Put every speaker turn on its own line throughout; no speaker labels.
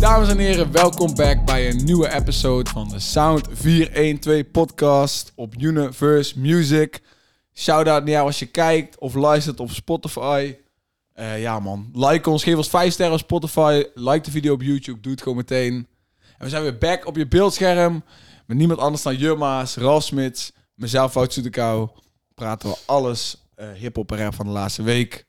dames en heren, welkom back bij een nieuwe episode van de Sound 412 podcast op Universe Music. Shout-out naar jou als je kijkt of luistert op Spotify. Eh, ja man, like ons, geef ons 5 sterren op Spotify, like de video op YouTube, doe het gewoon meteen. En we zijn weer back op je beeldscherm met niemand anders dan Jumma's, Ralf Smits, mezelf Wout Soetekou. Praten we alles eh hip-hop en rap van de laatste week.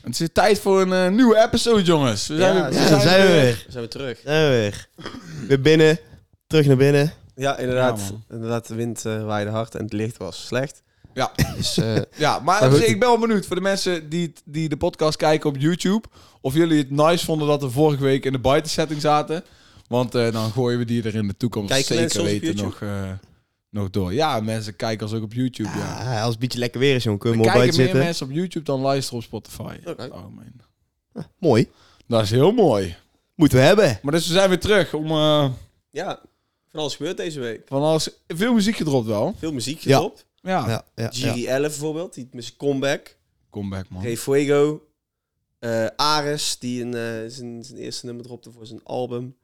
Het is tijd voor een eh, nieuwe episode, jongens. We zijn
Ja,
weer-
ja,
daar zijn we weer.
zijn we terug.
Daar zijn we weer. Weer binnen. Terug naar binnen.
Ja, inderdaad.
Ja, man.
inderdaad, de wind eh, waaide hard en het licht was slecht.
Ja.
Dus, eh,
Ja, maar dus
Maar goed.
ik ben wel benieuwd voor de mensen die, het- die de podcast kijken op YouTube. Of jullie het nice vonden dat we vorige week in de buiten setting zaten. Want eh, dan gooien we die er in de toekomst
Kijken mensen
zeker
ons op
weten nog,
YouTube?
eh, nog door. Ja, mensen kijken ons ook op YouTube. Ja.
Ah, als het beetje lekker weer is, jongen,
Er
kunnen we mooi
kijken
buiten
meer
zitten.
mensen op YouTube dan luisteren op Spotify.
Oké.
Oh, man.
Mooi.
Dat is heel mooi.
Moeten we hebben.
Maar dus we zijn weer terug om eh,
ja, van alles gebeurd deze week.
van alles... Veel muziek gedropt wel.
Veel muziek
Ja.
gedropt.
Ja,
Ja, ja, ja.
GD11 bijvoorbeeld, die met zijn comeback.
comeback man.
Hey Fuego. Eh, Ares, die een, eh, zijn, zijn eerste nummer dropte voor zijn album.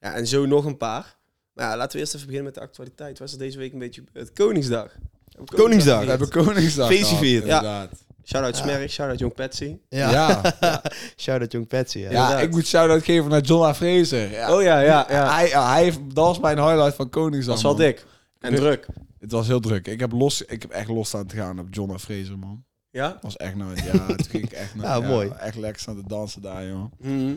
Ja, en zo nog een paar. Maar ja, laten we eerst even beginnen met de actualiteit. Was er deze week een beetje gebeurd? Koningsdag. Hebben we
Koningsdag.
We
gevierd?
hebben Koningsdag
Feestje
gehad,
vieren.
Ja.
inderdaad.
Shout-out Smerk, shout-out Jong Patsy.
Ja.
ja.
Shout-out Jong Patsy. Ja.
Ja,
Inderdaad.
ik moet shout-out geven naar John A. Fraser. Ja.
Oh ja, ja, ja.
Hij, hij heeft, dat was mijn highlight van Koningsdag.
Dat was wel
man.
dik. En druk.
Het was heel druk. Ik heb, los, ik heb echt los staan te gaan op John A. Fraser, man.
Ja?
Dat was echt nooit. Ja, toen ging ik echt naar,
Ja, mooi.
Echt lekker staan te dansen daar, jongen.
Mhm.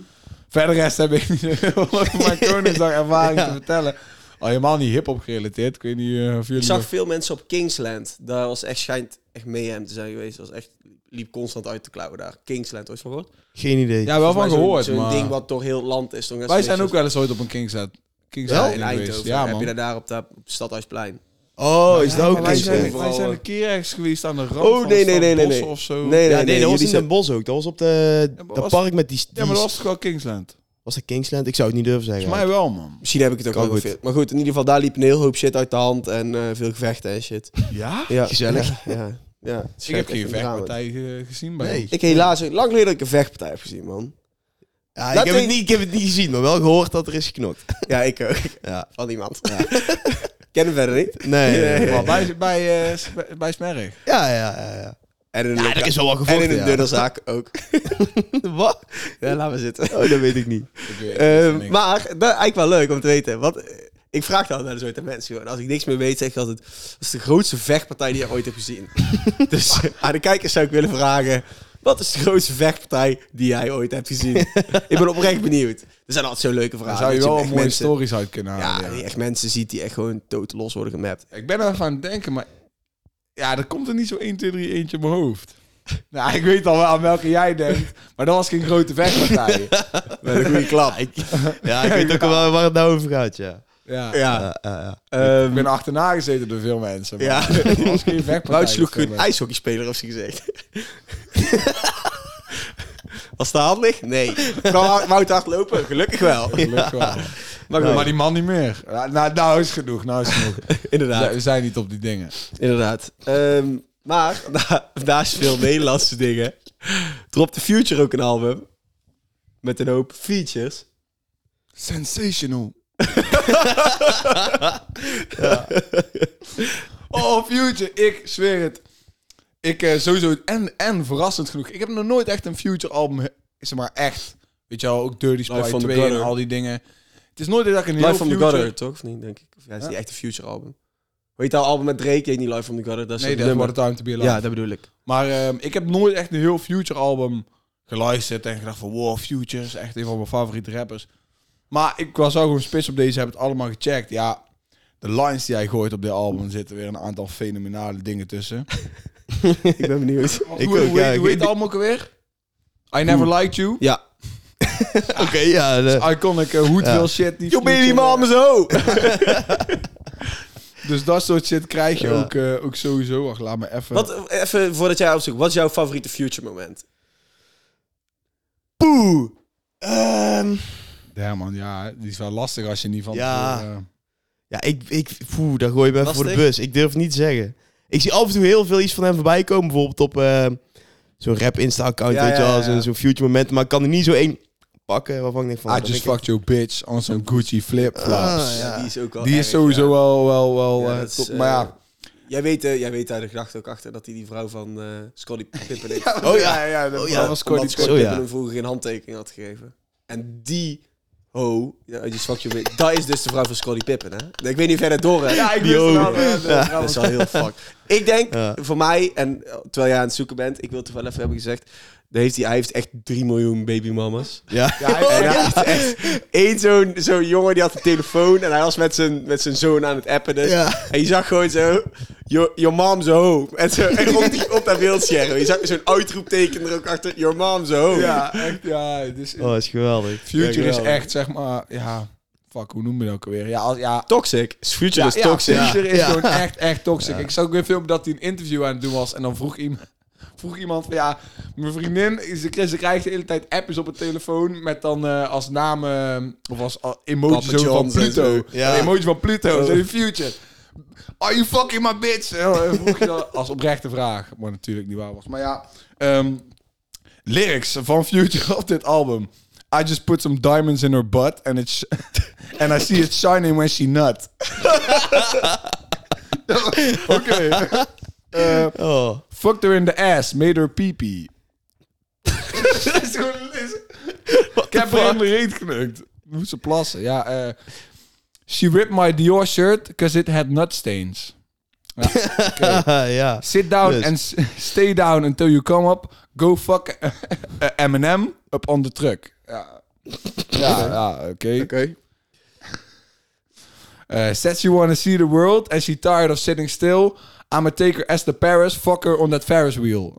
Verder rest heb ik niet zo heel veel over mijn Koningsdag ervaring
Ja.
te vertellen. Al helemaal niet hip-hop gerelateerd. Ik weet niet eh, of jullie...
Ik zag veel mensen op Kingsland. Daar was echt schijnt echt mayhem te zijn geweest. Was echt liep constant uit de klauwen daar. Kingsland, ooit van gehoord?
Geen idee.
ja, wel van
Volgens mij
gehoord,
Zo'n zo'n
maar...
ding wat door heel het land is. toch? Net
Wij
zo'n
zijn ook
beetje
wel eens ooit op een Kingslet.
zo'n-
Kingslet
in Eindhoven.
Ja,
Heb je
man.
daar, daar op, dat, op het Stadhuisplein?
Oh, is dat ook
Maar wij,
Kingslet?
zijn,
Kingsland?
wij zijn een keer ergens geweest aan de rand
Oh,
van
nee, nee,
Stad
nee, nee,
Bossen
nee.
of zo.
Ja, nee, dat was in Den
de
Bosch ook. Dat was op de,
maar
dat
was-
park met die... die
Ja, maar dat was toch wel Kingsland?
was dat Kingsland? Ik zou het niet durven zeggen.
Volgens mij wel, man.
Misschien heb ik het ook
Kan
wel
goed.
geveerd. Maar goed, in ieder geval, daar liep een heel hoop shit uit de hand. En eh, veel gevechten en shit.
Ja?
Ja.
Gezellig.
Ja. ja. ja.
Ik heb geen
vechtpartij.
vechtpartij eh, gezien bij
Nee.
ons.
Ik helaas lang geleden dat ik een vechtpartij heb gezien, man.
Ja,
Dat
ik, heb het
ik-
niet, ik heb het niet gezien, maar wel gehoord dat er is geknokt.
Ja, ik ook.
Ja.
Van iemand. Ken hem verder niet.
Nee.
Ja, ja,
Maar bij, bij, eh, Sp- bij Smerg.
Ja, ja, ja. ja.
En in een,
Ja,
loka-
er is wel wat
en
gevochten,
in een
ja.
dunnerzaak ook.
Wat?
Ja, laat maar zitten.
Oh, dat weet ik niet.
Ehm, maar dat eigenlijk wel leuk om te weten. Want eh, ik vraag dat altijd zo aan mensen. Gewoon. Als ik niks meer weet, zeg ik altijd... Dat is de grootste vechtpartij die je ooit hebt gezien. dus eh, aan de kijkers zou ik willen vragen... Wat is de grootste vechtpartij die jij ooit hebt gezien? ik ben oprecht benieuwd. Er zijn altijd zo'n leuke
Daar
vragen.
zou je
dat
wel
echt
mooie
mensen-
stories uit kunnen
Ja,
halen.
dat
ja.
je echt mensen ziet die echt gewoon dood los worden gemapt.
Ik ben er even aan het denken, maar... Ja, er komt er niet zo 1, 2, 3 eentje in mijn hoofd. Nou, ik weet al wel aan welke jij denkt, maar dat was geen grote vechtpartij.
Met een goede klap.
Ja, ik weet ook wel waar het nou over gaat, ja.
Ja.
ja.
Ja, ja, ja.
Ehm,
Ik ben achterna gezeten door veel mensen. Maar
Ja.
Dat was geen vechtpartij.
Wout sloeg
Dat
een ijshockeyspeler, heeft ze gezegd. Was dat handig? Nee. Kan Wout hard lopen? Gelukkig wel.
gelukkig wel. Maar, goed, maar die man niet meer. Ja, nou, nou is genoeg, nou is genoeg.
Inderdaad.
We zijn niet op die dingen.
Inderdaad. Ehm, maar, na, naast veel Nederlandse dingen, dropt The Future ook een album. Met een hoop features.
Sensational. Oh, Future, ik zweer het. Ik eh, sowieso, en, en verrassend genoeg, ik heb nog nooit echt een Future album, eh, zeg maar echt. Weet je wel, ook Dirty
Life
Sprite
from the
2 en
Gutter.
al die dingen. Het is nooit dat ik een heel
Live from the
Future-
Gutter, toch? Of niet, denk ik. Of ja, het is niet echt een Future album. Hoe heet dat album met Drake? Heet niet Live from the Gutter. Dat is
Nee,
het
dat
nummer.
wordt Time to Be Alive.
Ja, dat bedoel ik.
Maar ehm, ik heb nooit echt een heel Future album geluisterd en gedacht van wow, Future is echt een van mijn favoriete rappers. Maar ik was ook gewoon spits op deze, heb het allemaal gecheckt. Ja, de lines die hij gooit op dit album zitten weer een aantal fenomenale dingen tussen.
Ik ben benieuwd.
Want
Ik
hoe,
ook,
hoe,
ja,
heet-
ik-
hoe heet het album ook alweer? I Never Liked You.
Ja.
Oké, ja. de-
Iconic uh, hoed
Ja.
wil shit. Die
Yo baby
Future-
mama zo!
Dus dat soort shit krijg je
Ja.
ook, eh, ook sowieso. Wacht, laat me even.
Wat, even voordat jij opzoekt, wat is jouw favoriete future moment?
Poeh. Ehm,
Ja man, ja, die is wel lastig als je niet van...
Ja.
tevoren, eh,
ja, ik, ik, poeh, daar gooi je me even voor de
Lastig.
bus. Ik durf het niet te zeggen. Ik zie af en toe heel veel iets van hem voorbij komen. Bijvoorbeeld op ehm, zo'n rap Insta-account,
Ja,
weet je
ja,
wel.
ja, ja.
Zo'n zo'n future moment. Maar ik kan er niet zo één pakken waarvan ik denk van...
I
dat
Ah, just
vind ik
fucked your bitch on some Gucci flip flops.
Ah, ja.
Die is ook wel
Die
erg,
is sowieso
ja.
wel, wel, wel
Ja,
eh,
dat is,
top. Maar ja.
eh, jij, weet, eh, jij weet daar de gedachte ook achter dat hij die vrouw van eh, Scottie Pippen heeft.
echt- Oh ja,
ja,
Oh
dat
ja,
was
Omdat
Cody.
Scottie
Oh ja.
Pippen hem vroeger geen handtekening had gegeven. En die ho, ja, die zwakje weet, dat is dus de vrouw van Scottie Pippen, hè? Ik weet niet verder door, hè?
Ja, ik
Die
wist het al.
ook.
ja, dat
Dat
was-
is wel heel fuck. Ik denk,
Ja.
voor mij, en eh, terwijl jij aan het zoeken bent, ik wil het toch wel even hebben gezegd, daar heeft hij, hij heeft echt 3 miljoen babymamas.
Oh, Ja.
Ja, hij-
En hij had echt één zo'n zo'n jongen die had een telefoon en hij was met zijn, met zijn zoon aan het appen. Dus.
Ja.
En je zag gewoon zo, your, your mom's home. En, zo, en op, die, op dat beeldscherm. Je zag zo'n uitroepteken er ook achter, your mom's home.
Ja, echt, ja. Dus
Oh, is geweldig.
Future is
Ja, geweldig.
echt, zeg maar, ja... Fuck, hoe noem je dat ook alweer? Ja, als, ja
Toxic. Future
ja,
is toxic.
Ja, Future is
Ja.
gewoon echt, echt toxic. Ik zag ook weer film dat hij een interview aan het doen was. En dan vroeg iemand, vroeg iemand van ja, mijn vriendin, ze, kri- ze krijgt de hele tijd appjes op het telefoon. Met dan eh, als naam, eh, of als ah, emoji zo
Papa
van
John's en
Pluto.
zo. Ja.
Een emoji van Pluto,
Oh.
zo in Future. Are you fucking my bitch? Eh, Vroeg je dan als oprechte vraag. Maar natuurlijk niet waar was. Maar ja, ehm, lyrics van Future op dit album. I just put some diamonds in her butt and it's and I see it shining when she nut. Oké. Eh,
Oh.
fucked her in the ass, made her pee pee. Dat is gewoon- dat is- Ik heb haar in de reet geknukt. Moet ze plassen, ja. eh, she ripped my Dior shirt because it had nut stains.
ja.
Sit down
Dus.
and s- stay down until you come up. Go fuck eh, Eminem up on the truck. Ja, ja, ja, oké. Uh, said she wanna see the world and she tired of sitting still. I'ma take her as the Paris, fuck her on that Ferris wheel.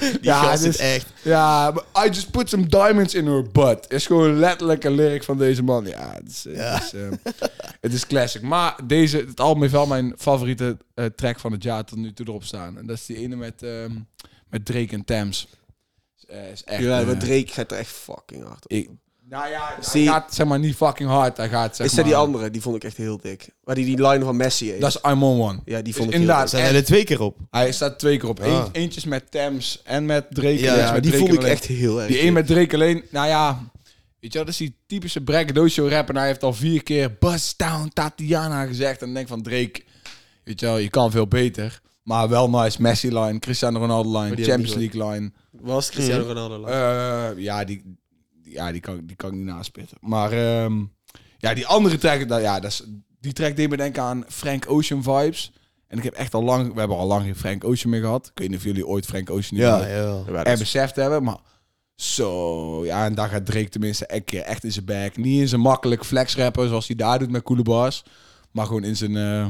Die
Ja,
gast
dus-
is echt...
ja, maar I just put some diamonds in her butt. Is gewoon letterlijk een lyric van deze man. Ja, het is, eh, Het is, eh, het is classic. Maar deze, het album heeft wel mijn favoriete eh, track van het jaar tot nu toe erop staan. En dat is die ene met, ehm, met Drake en Thames. Eh, is echt,
Ja,
eh,
maar Drake gaat er echt fucking hard op.
ik- nou ja,
Zie-
hij gaat zeg maar niet fucking hard. Hij gaat zeg
is dat die
maar-
andere? Die vond ik echt heel dik. Waar die die line van Messi heeft.
Dat is I'm on one.
ja, die
Dus
vond ik
inderdaad,
heel
Zijn er er twee keer op?
Hij staat twee keer op. Eén-
Ah.
eentje is met Thames en met Drake. en
dik.
Ja,
eentje
Ja,
met
die
Drake
vond ik
alleen.
echt heel erg
Die
dik.
één met Drake alleen. Nou ja, weet je wel, dat is die typische Braggadocio rapper. En hij heeft al vier keer Bust Down Tatiana gezegd. En dan denk ik van Drake, weet je wel, je kan veel beter. Maar wel nice. Messi line, Cristiano Ronaldo
Maar
line,
die
Champions
heb ik
League line.
Was Cristiano Ronaldo lang?
Eh, ja, die, die- ja die, kan, die kan ik niet naspitten. Maar ehm, ja, die andere track, nou, ja, dat is, die track deed me denken aan Frank Ocean vibes. En ik heb echt al lang, we hebben al lang geen Frank Ocean meer gehad. Ik weet niet of jullie ooit Frank Ocean hebben
Ja,
gehad
ja.
Mhm.
en beseft hebben, maar zo, ja, en daar gaat Drake tenminste een keer echt in zijn bek. Niet in zijn makkelijk flex rapper zoals hij daar doet met coole bars, maar gewoon in zijn, eh,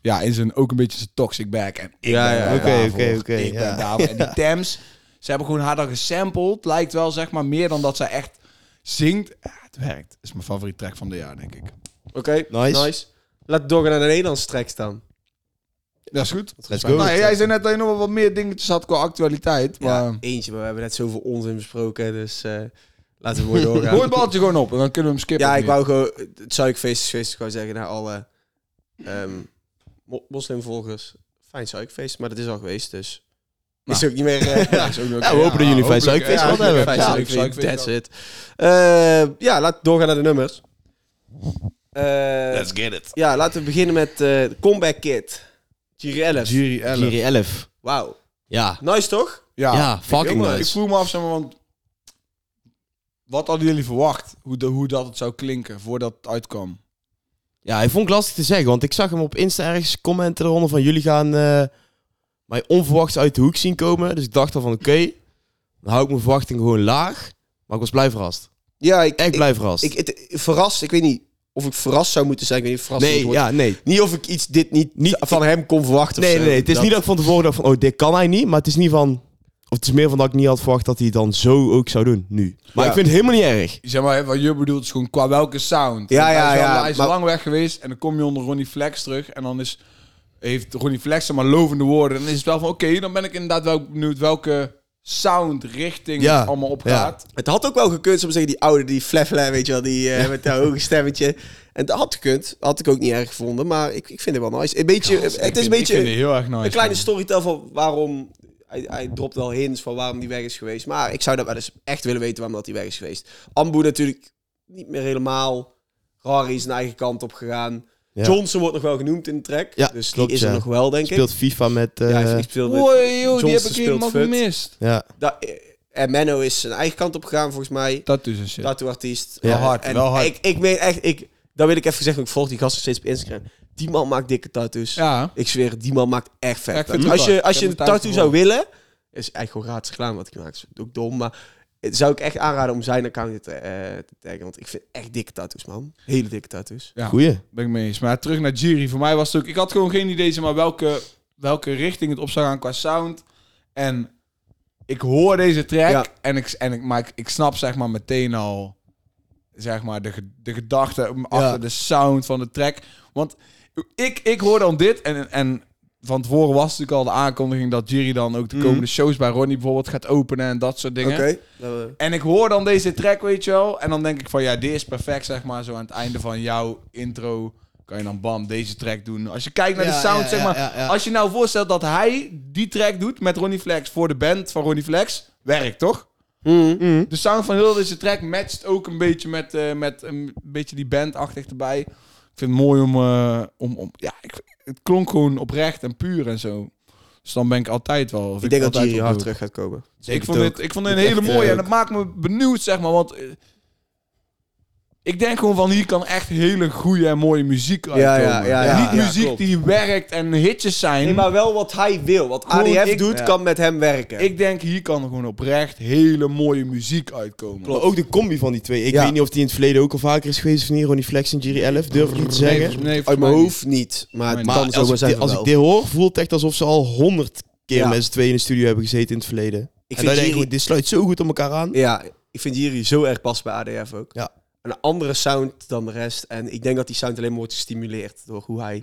ja, in zijn ook een beetje zijn toxic back. En ik
Ja,
ben
ja,
daar
oké,
daarvoor.
oké, oké,
Ik
ja.
ben daarvoor. En die Thames, ze hebben gewoon haar dan gesampled. Lijkt wel zeg maar meer dan dat zij echt zingt. Ja, het werkt. is mijn favoriete track van de jaar, denk ik.
Oké,
Nice.
nice. Laat doorgaan naar de Nederlandse tracks dan.
Dat is goed.
Let's go.
Nou, jij zei net dat je nog wel wat meer dingetjes had qua actualiteit, maar...
Ja, eentje, maar we hebben net zoveel onzin besproken, dus eh, laten we mooi doorgaan.
Gooi het balletje gewoon op en dan kunnen we hem skippen.
ja,
of
ik
niet?
wou gewoon, het suikfeest is gewoon zeggen naar alle ehm, mo- moslimvolgers. Fijn suikfeest, maar dat is al geweest, dus...
Nou.
Is ook niet meer... eh, ja, is ook nog-
Ja, we hopen dat jullie fijn
hopelijk.
suikfeest
Ja,
gehad hebben.
fijn
Ja,
suikfeest.
ik vind- That's it. Eh, ja, laat doorgaan naar de nummers. Eh,
get it.
ja, laten we beginnen met eh, de Comeback Kid. Girelle.
Jury 11.
Jury 11.
Wauw.
Ja.
Nice toch?
Ja,
Ja, fucking
heel
ik
nice.
vroeg me af, zeg maar, want wat hadden jullie verwacht? Hoe, de, hoe dat het zou klinken voordat het uitkwam?
Ja, hij vond ik lastig te zeggen, want ik zag hem op Insta ergens commenten eronder van jullie gaan eh, mij onverwachts uit de hoek zien komen. Dus ik dacht al van oké, dan hou ik mijn verwachting gewoon laag. Maar ik was blij verrast.
Ja, ik,
Echt
ik,
blij verrast.
ik, het- verrast. Ik weet niet of ik verrast zou moeten zijn. Ik weet niet of verrast
nee,
moet worden.
ja, nee.
Niet of ik iets dit niet,
Niet-
van hem kon verwachten. of
Nee,
zo.
nee, nee. Het is
Dat-
niet dat ik van tevoren dacht van oh, dit kan hij niet. Maar het is niet van... Of het is meer van dat ik niet had verwacht dat hij het dan zo ook zou doen, nu. Maar
Ja.
ik vind het helemaal niet erg.
Zeg maar, hè, wat je bedoelt is gewoon qua welke sound.
Ja,
Want hij
ja,
is, wel-
ja,
Hij is
maar-
lang weg geweest en dan kom je onder Ronnie Flex terug. En dan is, heeft Ronnie Flex zeg maar lovende woorden. En dan is het wel van, oké, dan ben ik inderdaad wel benieuwd welke sound richting
Ja,
het allemaal opgaat.
Het had ook wel gekund, soms zeggen die oude, die fleffle, weet je wel, die eh, met dat hoge stemmetje. En dat had gekund. Had ik ook niet erg gevonden, maar ik, ik vind het wel nice. Een beetje, het is een
Ik vind
beetje
het heel erg nice.
een kleine
man.
storytel van waarom hij, hij dropt wel hints van waarom die weg is geweest. Maar ik zou dat wel eens echt willen weten waarom dat die weg is geweest. Ambu natuurlijk niet meer helemaal. Rari is zijn eigen kant op gegaan.
Ja.
Johnson wordt nog wel genoemd in de track.
Ja,
dus
klopt,
die is er
ja.
nog wel, denk ik.
Speelt FIFA met... eh,
Ja,
ja,
hij speelt met-
Oei, joh, die heb
Johnson
ik
speelt
helemaal
fut.
gemist.
Da- en Menno is zijn eigen kant op gegaan, volgens mij.
Dat is een shit.
Tattooartiest.
Wel hard,
en
wel hard.
Ik, ik meen echt, ik, dat wil ik even zeggen, ik volg die gasten steeds op Instagram. Die man maakt dikke tattoos.
Ja.
Ik zweer, het, die man maakt echt vet.
Ja, ik vind het
tattoos. als
ook
je,
wel.
als
Ik
je
heb hem
een
thuis
tattoo zou willen, is eigenlijk gewoon gratis reclame wat ik maak. Dat is ook dom, maar het zou ik echt aanraden om zijn account te, eh, te taggen. Want ik vind echt dikke tattoos, man. Hele dikke tattoos.
ja.
Goeie.
Ben ik mee eens. Maar terug naar Jiri. Voor mij was het ook... Ik had gewoon geen idee zeg maar, welke, welke richting het op zou gaan qua sound. En ik hoor deze track.
Ja.
En ik, en ik, maar ik, ik snap zeg maar meteen al... Zeg maar de, ge- de gedachte achter de sound van de track. Want ik, ik hoor dan dit. En, en van tevoren was natuurlijk al de aankondiging... dat Jiri dan ook de komende shows bij Ronnie bijvoorbeeld gaat openen. En dat soort dingen.
Dan, eh,
En ik hoor dan deze track, weet je wel. En dan denk ik van, ja, dit is perfect, zeg maar. Zo aan het einde van jouw intro kan je dan bam, deze track doen. Als je kijkt naar de
Ja,
sound,
ja,
zeg
ja,
maar.
ja, ja.
Als je nou voorstelt dat hij die track doet met Ronnie Flex voor de band van Ronnie Flex, werkt toch?
Mm.
De sound van heel deze track matcht ook een beetje met, eh, met een beetje die bandachtig erbij. Ik vind het mooi om, eh, om, om ja, ik, het klonk gewoon oprecht en puur en zo. Dus dan ben ik altijd wel. vind
Ik denk dat
altijd
Jiri
wel
hard
goed.
terug gaat komen.
Ik vond, dit, ik vond dit een hele
echt, eh,
mooie en
ook.
dat maakt me benieuwd, zeg maar. Want eh, ik denk gewoon van hier kan echt hele goede en mooie muziek uitkomen.
ja, ja, ja,
Niet
ja,
muziek
klopt.
die werkt en hitjes zijn.
Nee, maar wel wat hij wil. Wat
Gewoon,
ADF
ik-
doet,
ja.
kan met hem werken.
Ik denk hier kan gewoon oprecht hele mooie muziek uitkomen.
Maar ook de combi van die twee. Ik
Ja.
weet niet of die in het verleden ook al vaker is geweest van hier. Ronnie Flex en Jiri 11. Durf ik niet te
Nee,
zeggen.
volgens- nee,
Uit
volgens
mijn
mij
hoofd niet, maar het
Maar
kan
Maar Nou, als,
zomaar
ik
zijn
dit,
van
als ik
wel.
dit hoor, voelt het echt alsof ze al honderd keer
Ja.
met z'n tweeën in de studio hebben gezeten in het verleden.
Ik
en dan
vind
denk
Jiri
ik, dit sluit zo goed op elkaar aan.
Ja, ik vind Jiri zo erg pas bij ADF ook.
Ja.
Een andere sound dan de rest. En ik denk dat die sound alleen maar wordt gestimuleerd door hoe hij,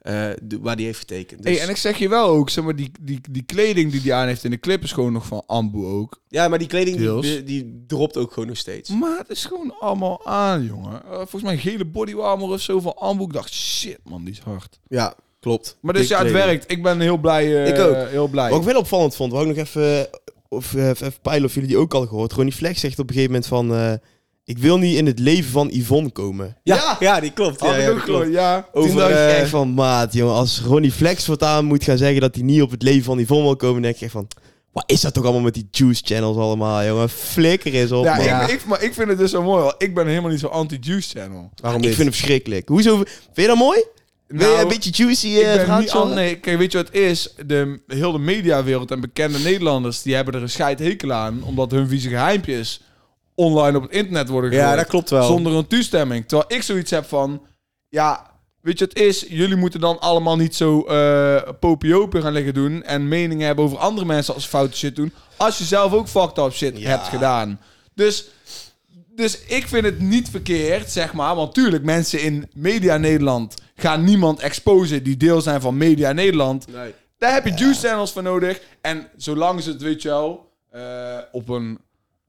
eh, de- waar die heeft getekend. Dus,
Hey, en ik zeg je wel ook, zeg maar, die, die, die kleding die die aan heeft in de clip is gewoon nog van Ambu ook.
Ja, maar die kleding die,
Deels.
die, die dropt ook gewoon nog steeds.
Maar het is gewoon allemaal aan, jongen. Eh, volgens mij een gele bodywarmer of zo van Ambu. Ik dacht, shit man, die is hard.
Ja, klopt.
Maar dus
Dik
ja, het
kleding.
werkt. Ik ben heel blij. eh,
Ik ook.
Heel blij.
Wat ik wel opvallend vond, wou ik nog even, of, eh, even peilen of jullie die ook al gehoord. Ronnie Flex zegt op een gegeven moment van... eh, ik wil niet in het leven van Yvonne komen.
Ja, ja. die klopt. Ja,
Had ik
ja,
ook
die
gewoon,
klopt.
ja.
Toen dacht
Over,
ik
eh,
echt van, maat jongen, als Ronnie Flex voortaan moet gaan zeggen dat hij niet op het leven van Yvonne wil komen, dan denk ik echt van, wat is dat toch allemaal met die juice channels allemaal, jongen? Flikker is op,
Ja,
man.
Ja.
Ik, ik, maar ik vind het dus zo mooi. want Ik ben helemaal niet zo anti-Juice Channel.
waarom
Ik
niet?
vind hem verschrikkelijk. Hoezo? Vind je dat mooi? Wil je
Nou,
een beetje juicy eh,
ik ben niet
verhaaltje
an-
horen?
nee, kijk, weet je wat het is? De, heel de mediawereld en bekende Nederlanders... die hebben er een scheidhekel aan... omdat hun vieze geheimpjes online op het internet worden gegooid.
Ja, dat klopt wel.
Zonder een toestemming. Terwijl ik zoiets heb van... Ja, weet je wat het is? Jullie moeten dan allemaal niet zo eh popiopen gaan liggen doen... en meningen hebben over andere mensen als ze foute shit doen... als je zelf ook fucked up shit
Ja.
hebt gedaan. Dus... Dus ik vind het niet verkeerd, zeg maar. Want tuurlijk, mensen in Media Nederland gaan niemand exposen die deel zijn van Media Nederland.
Nee.
Daar heb je juice channels voor nodig. En zolang ze het, weet je wel, eh, op een...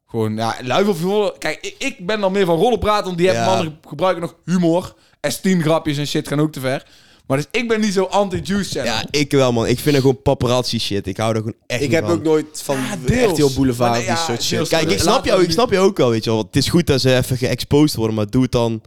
Gewoon, ja, lui of humor. Kijk, ik, ik ben dan meer van rollen praten, want die hebben
Ja.
andere gebruiken nog humor. S10 grapjes en shit gaan ook te ver. Maar dus ik ben niet zo anti-juice channel.
Ja, ik wel, man. Ik vind dat gewoon paparazzi shit. Ik hou er gewoon echt
Ik
niet
heb
van.
ook nooit van
deels.
echt heel boulevard
Maar
of
nee,
die
ja,
soort
deels.
shit.
Kijk, ik
Laat
snap,
dat
jou, ik
nu-
snap je ook wel, weet je wel. Want het is goed dat ze even geëxposed worden, maar doe het dan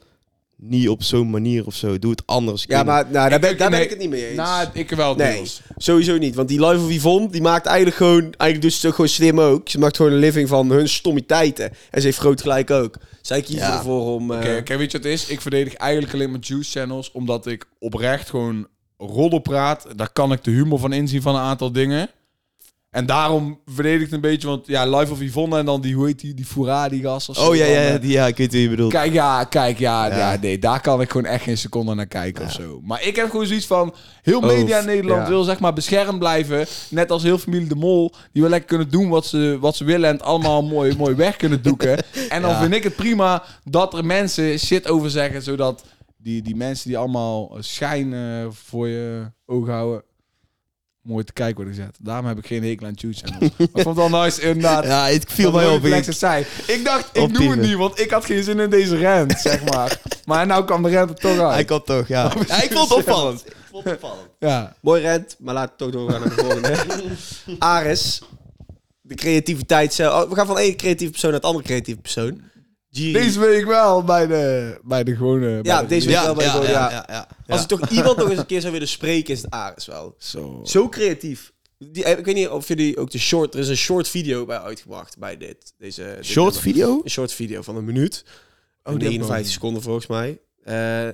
niet op zo'n manier of zo. Doe het anders. Ik
Ja,
weet
maar nou, daar, ben,
ik-
daar ben
nee.
ik het niet mee eens.
Nou, ik wel
Nee,
deels.
sowieso niet. Want die Live of Yvonne, die maakt eigenlijk gewoon... Eigenlijk doet ze het ook gewoon slim ook. Ze maakt gewoon een living van hun stommiteiten. En ze heeft groot gelijk ook. Zij kiezen
Ja.
ervoor om... eh,
Oké, oké, weet je wat het is? Ik verdedig eigenlijk alleen maar juice channels, omdat ik oprecht gewoon roddel praat. Daar kan ik de humor van inzien van een aantal dingen. En daarom verdedig ik het een beetje, want ja, Life of Yvonne en dan die, hoe heet die, die Foura, die gast of
niet.
zo.
Oh ja,
Dan,
ja,
eh,
ja, die- ja, ik weet wie je bedoelt.
Kijk, ja, kijk, ja, ja.
Ja.
nee, daar kan ik gewoon echt geen seconde naar kijken of zo. Maar ik heb gewoon zoiets van, heel media
Oh,
Nederland
ja.
wil zeg maar beschermd blijven. Net als heel familie De Mol, die wil lekker kunnen doen wat ze, wat ze willen en het allemaal mooi, mooi weg kunnen doeken. En dan
Ja.
vind ik het prima dat er mensen shit over zeggen, zodat die, die mensen die allemaal schijn eh, voor je ogen houden, mooi te kijken worden gezet. Daarom heb ik geen hekel aan Tune Channels. Maar ik vond het wel nice, inderdaad.
ja, het viel
Dat
mij
Ronnie
op. Ik-
Flex het zei. Ik dacht, ik doe het
Optieven.
niet, want ik had geen zin in deze rent, zeg maar. maar nou kwam de rent er toch uit.
Hij kan toch, ja. ja ik vond het opvallend. vond het opvallend.
Ja.
Mooi rent, maar laat het toch doorgaan naar de volgende. Ares, de creativiteit zelf. Oh, we gaan van één creatieve persoon naar het andere creatieve persoon. Giri.
Deze week wel bij de, bij de gewone... bij
ja,
de-
deze week wel bij de- ja.
ja.
Als ik toch iemand nog eens een keer zou willen spreken, is het Ares wel.
Zo.
Zo creatief. Die, eh, ik weet niet of jullie ook de short... Er is een short video bij uitgebracht bij dit. Deze, dit
Short
nummer.
video?
Een short video van een minuut. Oh,
die heb ik
59
ook.
seconden volgens mij. Eh,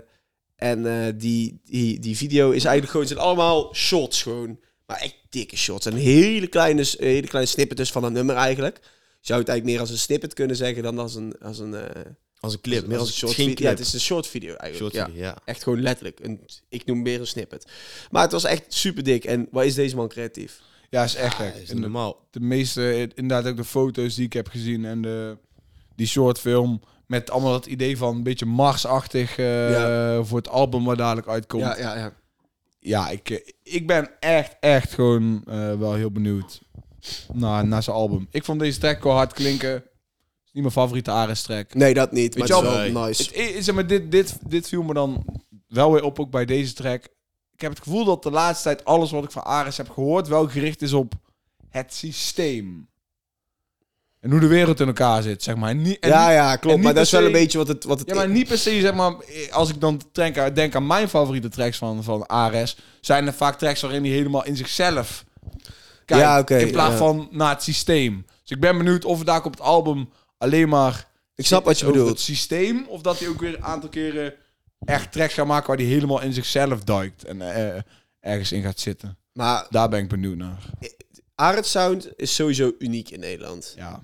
en eh, die, die, die video is eigenlijk gewoon... Het zijn allemaal shots gewoon. Maar echt dikke shots. En hele kleine, s- hele kleine snippet dus van het nummer eigenlijk. Je zou het eigenlijk meer als een snippet kunnen zeggen dan als een... Als een eh,
Als een clip, meer als,
een
een
short
geen
video. Ja,
clip.
het is een short video eigenlijk.
short
ja.
video, ja.
Echt gewoon letterlijk. Een, ik noem meer een snippet. Maar het was echt super dik. En wat is deze man creatief?
Ja, is echt
Ja,
gek.
Ah, is
En
niet
de,
normaal.
de meeste, eh, inderdaad ook de foto's die ik heb gezien en de, die short film met allemaal dat idee van een beetje Marsachtig eh, voor het album wat dadelijk uitkomt. Ja,
ja, ja.
ik, eh, ik ben echt, echt gewoon eh, wel heel benieuwd naar, naar zijn album. Ik vond deze track wel hard klinken. Is niet mijn favoriete Ares track.
Nee, dat niet. Maar
Weet
het
je
is
wel,
wel nice.
Het, i- zeg maar, dit, dit, dit viel me dan wel weer op, ook bij deze track. Ik heb het gevoel dat de laatste tijd alles wat ik van Ares heb gehoord... wel gericht is op het systeem. En hoe de wereld in elkaar zit, zeg maar. En niet, en
ja,
niet-
ja, klopt.
niet
Maar
per
dat is wel
se-
een beetje wat het, wat het
ja, maar niet per se, zeg maar... eh, Als ik dan denk aan, denk aan mijn favoriete tracks van, van Ares... zijn er vaak tracks waarin hij helemaal in zichzelf kijkt.
Ja, oké,
in plaats
ja.
van naar het systeem. Dus ik ben benieuwd of het daar op het album alleen maar...
Ik snap wat je
over
bedoelt.
Het systeem, of dat hij ook weer een aantal keren echt tracks gaat maken waar hij helemaal in zichzelf duikt en eh, ergens in gaat zitten.
Maar
Daar ben ik benieuwd naar.
Arend Sound is sowieso uniek in Nederland.
Ja.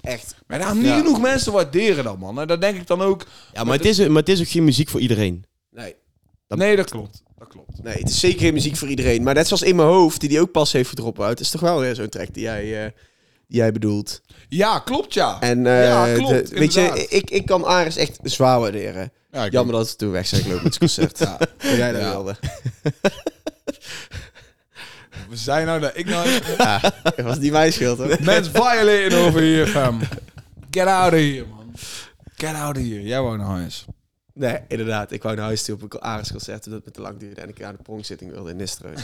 Echt.
Maar daar niet
Ja.
genoeg mensen waarderen dat, man. En dat denk ik dan ook.
Ja, maar het, is, maar het is ook geen muziek voor iedereen.
Nee,
Dat-
nee, dat klopt. Dat klopt.
nee, het is zeker geen muziek voor iedereen. Maar net zoals in mijn hoofd, die die ook pas heeft gedropt uit, is toch wel weer zo'n track die jij, eh, die jij bedoelt.
Ja, klopt, ja.
En
Ja,
eh,
klopt,
de- weet je,
inderdaad.
ik, ik kan Ares echt zwaar waarderen.
ja ik
Jammer dat het toen weg zijn gelopen met het concert.
Ja.
Toen jij dat
Ja.
wilde.
We zijn nou dat ik nou...
Dat was niet mijn schuld, hoor.
Mens violating over hier, fam. Get out of here, man. Get out of here. Jij wou naar huis.
Nee, inderdaad. Ik wou naar huis toe op een Ares concert, omdat het te lang duurde en ik aan de pronkzitting wilde in Nistrooi.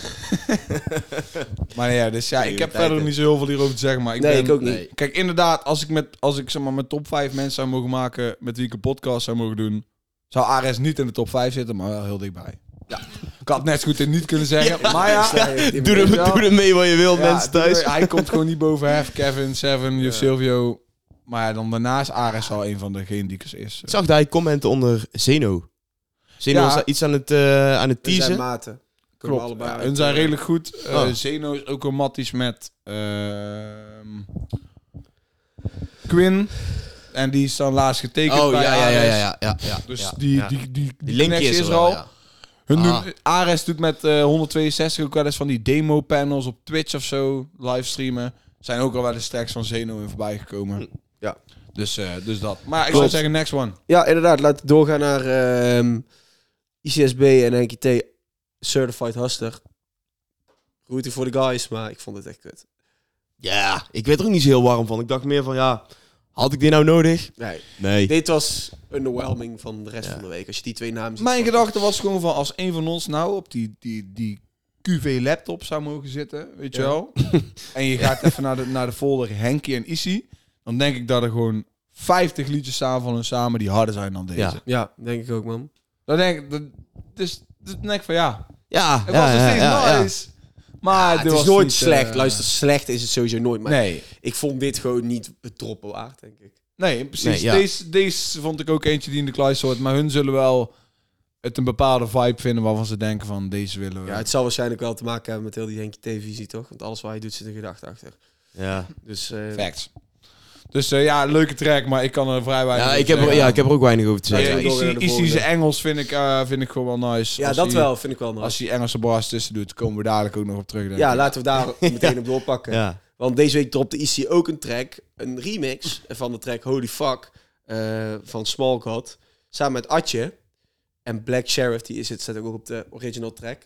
Maar ja, dus ja, ik heb
Prioriteiten.
verder niet zo heel veel hierover te zeggen. Maar ik
Nee,
ben,
ik ook niet.
Nee. Kijk, inderdaad, als ik, met, als ik zeg maar, mijn top 5 mensen zou mogen maken met wie ik een podcast zou mogen doen, zou Ares niet in de top 5 zitten, maar wel heel dichtbij. Ja. Ik had net zo goed dit niet kunnen zeggen, maar ja.
Doe er, doe er mee wat je wil,
Ja,
mensen thuis.
doe- Hij komt gewoon niet boven Hef, Kevin, Seven, Silvio. Maar ja, dan daarnaast Ares al een van degenen die ik is.
Ik zag daar commenten onder Zeno. Zeno
Ja.
was daar iets aan het, eh, aan het
Die zijn
teasen.
maten. Kunnen
Klopt.
we allebei
Ja,
met,
hun zijn
eh,
redelijk goed. Eh,
Oh.
Zeno is ook wel matties met ehm, Quinn. En die is dan laatst getekend
Oh, ja,
bij
ja, ja,
Ares.
ja, ja, ja, ja.
Dus
Ja,
die,
ja.
die, die, die,
Die linkje
connectie
is er al. Ja.
Hun
Ah.
doen- Ares doet met eh, 162 ook wel eens van die demo panels op Twitch of zo. Livestreamen. Zijn ook al wel eens tracks van Zeno in voorbij gekomen.
Ja.
Dus, eh, dus dat. Maar ik zou
Klopt.
zeggen, next one.
Ja, inderdaad. Laten we doorgaan naar ehm, ICSB en Henkie T. Certified Hustler. Rooting voor de guys, maar ik vond het echt kut.
Ja, ik werd er ook niet zo heel warm van. Ik dacht meer van, ja, had ik dit nou nodig?
Nee.
Nee.
Dit was underwhelming van de rest
Ja.
van de week. Als je die twee namen ziet.
Mijn
van-
gedachte was gewoon van als een van ons nou op die, die, die QV-laptop zou mogen zitten, weet je
Ja.
wel. en je gaat even naar de, naar de folder Henkie en Issy. Dan denk ik dat er gewoon 50 liedjes staan van hun samen die harder zijn dan deze.
Ja.
Ja, denk ik ook, man.
Dan denk ik, dat, dus, dus denk ik van ja,
Ja,
het
ja,
was nog
ja,
steeds
ja, ja.
nice. Maar
het
dit
is
was
nooit
niet,
slecht.
eh,
Luister, slecht is het sowieso nooit. Maar
Nee,
ik vond dit gewoon niet het droppen waard, denk ik.
nee, precies.
Nee, ja.
deze, deze vond ik ook eentje die in de kluis hoort. Maar hun zullen wel het een bepaalde vibe vinden waarvan ze denken van deze willen we.
Ja, het zal waarschijnlijk wel te maken hebben met heel die Henkie T-visie, toch? Want alles wat hij doet zit een gedachte achter.
Ja.
Dus eh,
Facts. Dus eh, ja, leuke track, maar ik kan er vrij weinig
Ja,
over
ik heb, er-
zeggen.
ja, ik heb er ook weinig over te
Ja,
zeggen.
Laten we door naar
Izzy-
de
Izzy
volgende.
zijn Engels vind ik, eh, vind ik gewoon wel nice.
ja,
Als
dat
hij-
wel vind ik wel
Als
nice.
hij Engelse bars tussen doet, komen we dadelijk ook nog op terug. denk
Ja,
ik.
laten we daar meteen op doorpakken.
Ja.
Want deze week dropte IC ook een track, een remix van de track Holy Fuck eh, van Small God. Samen met Atje. En Black Sheriff, die is het, staat ook op de original track.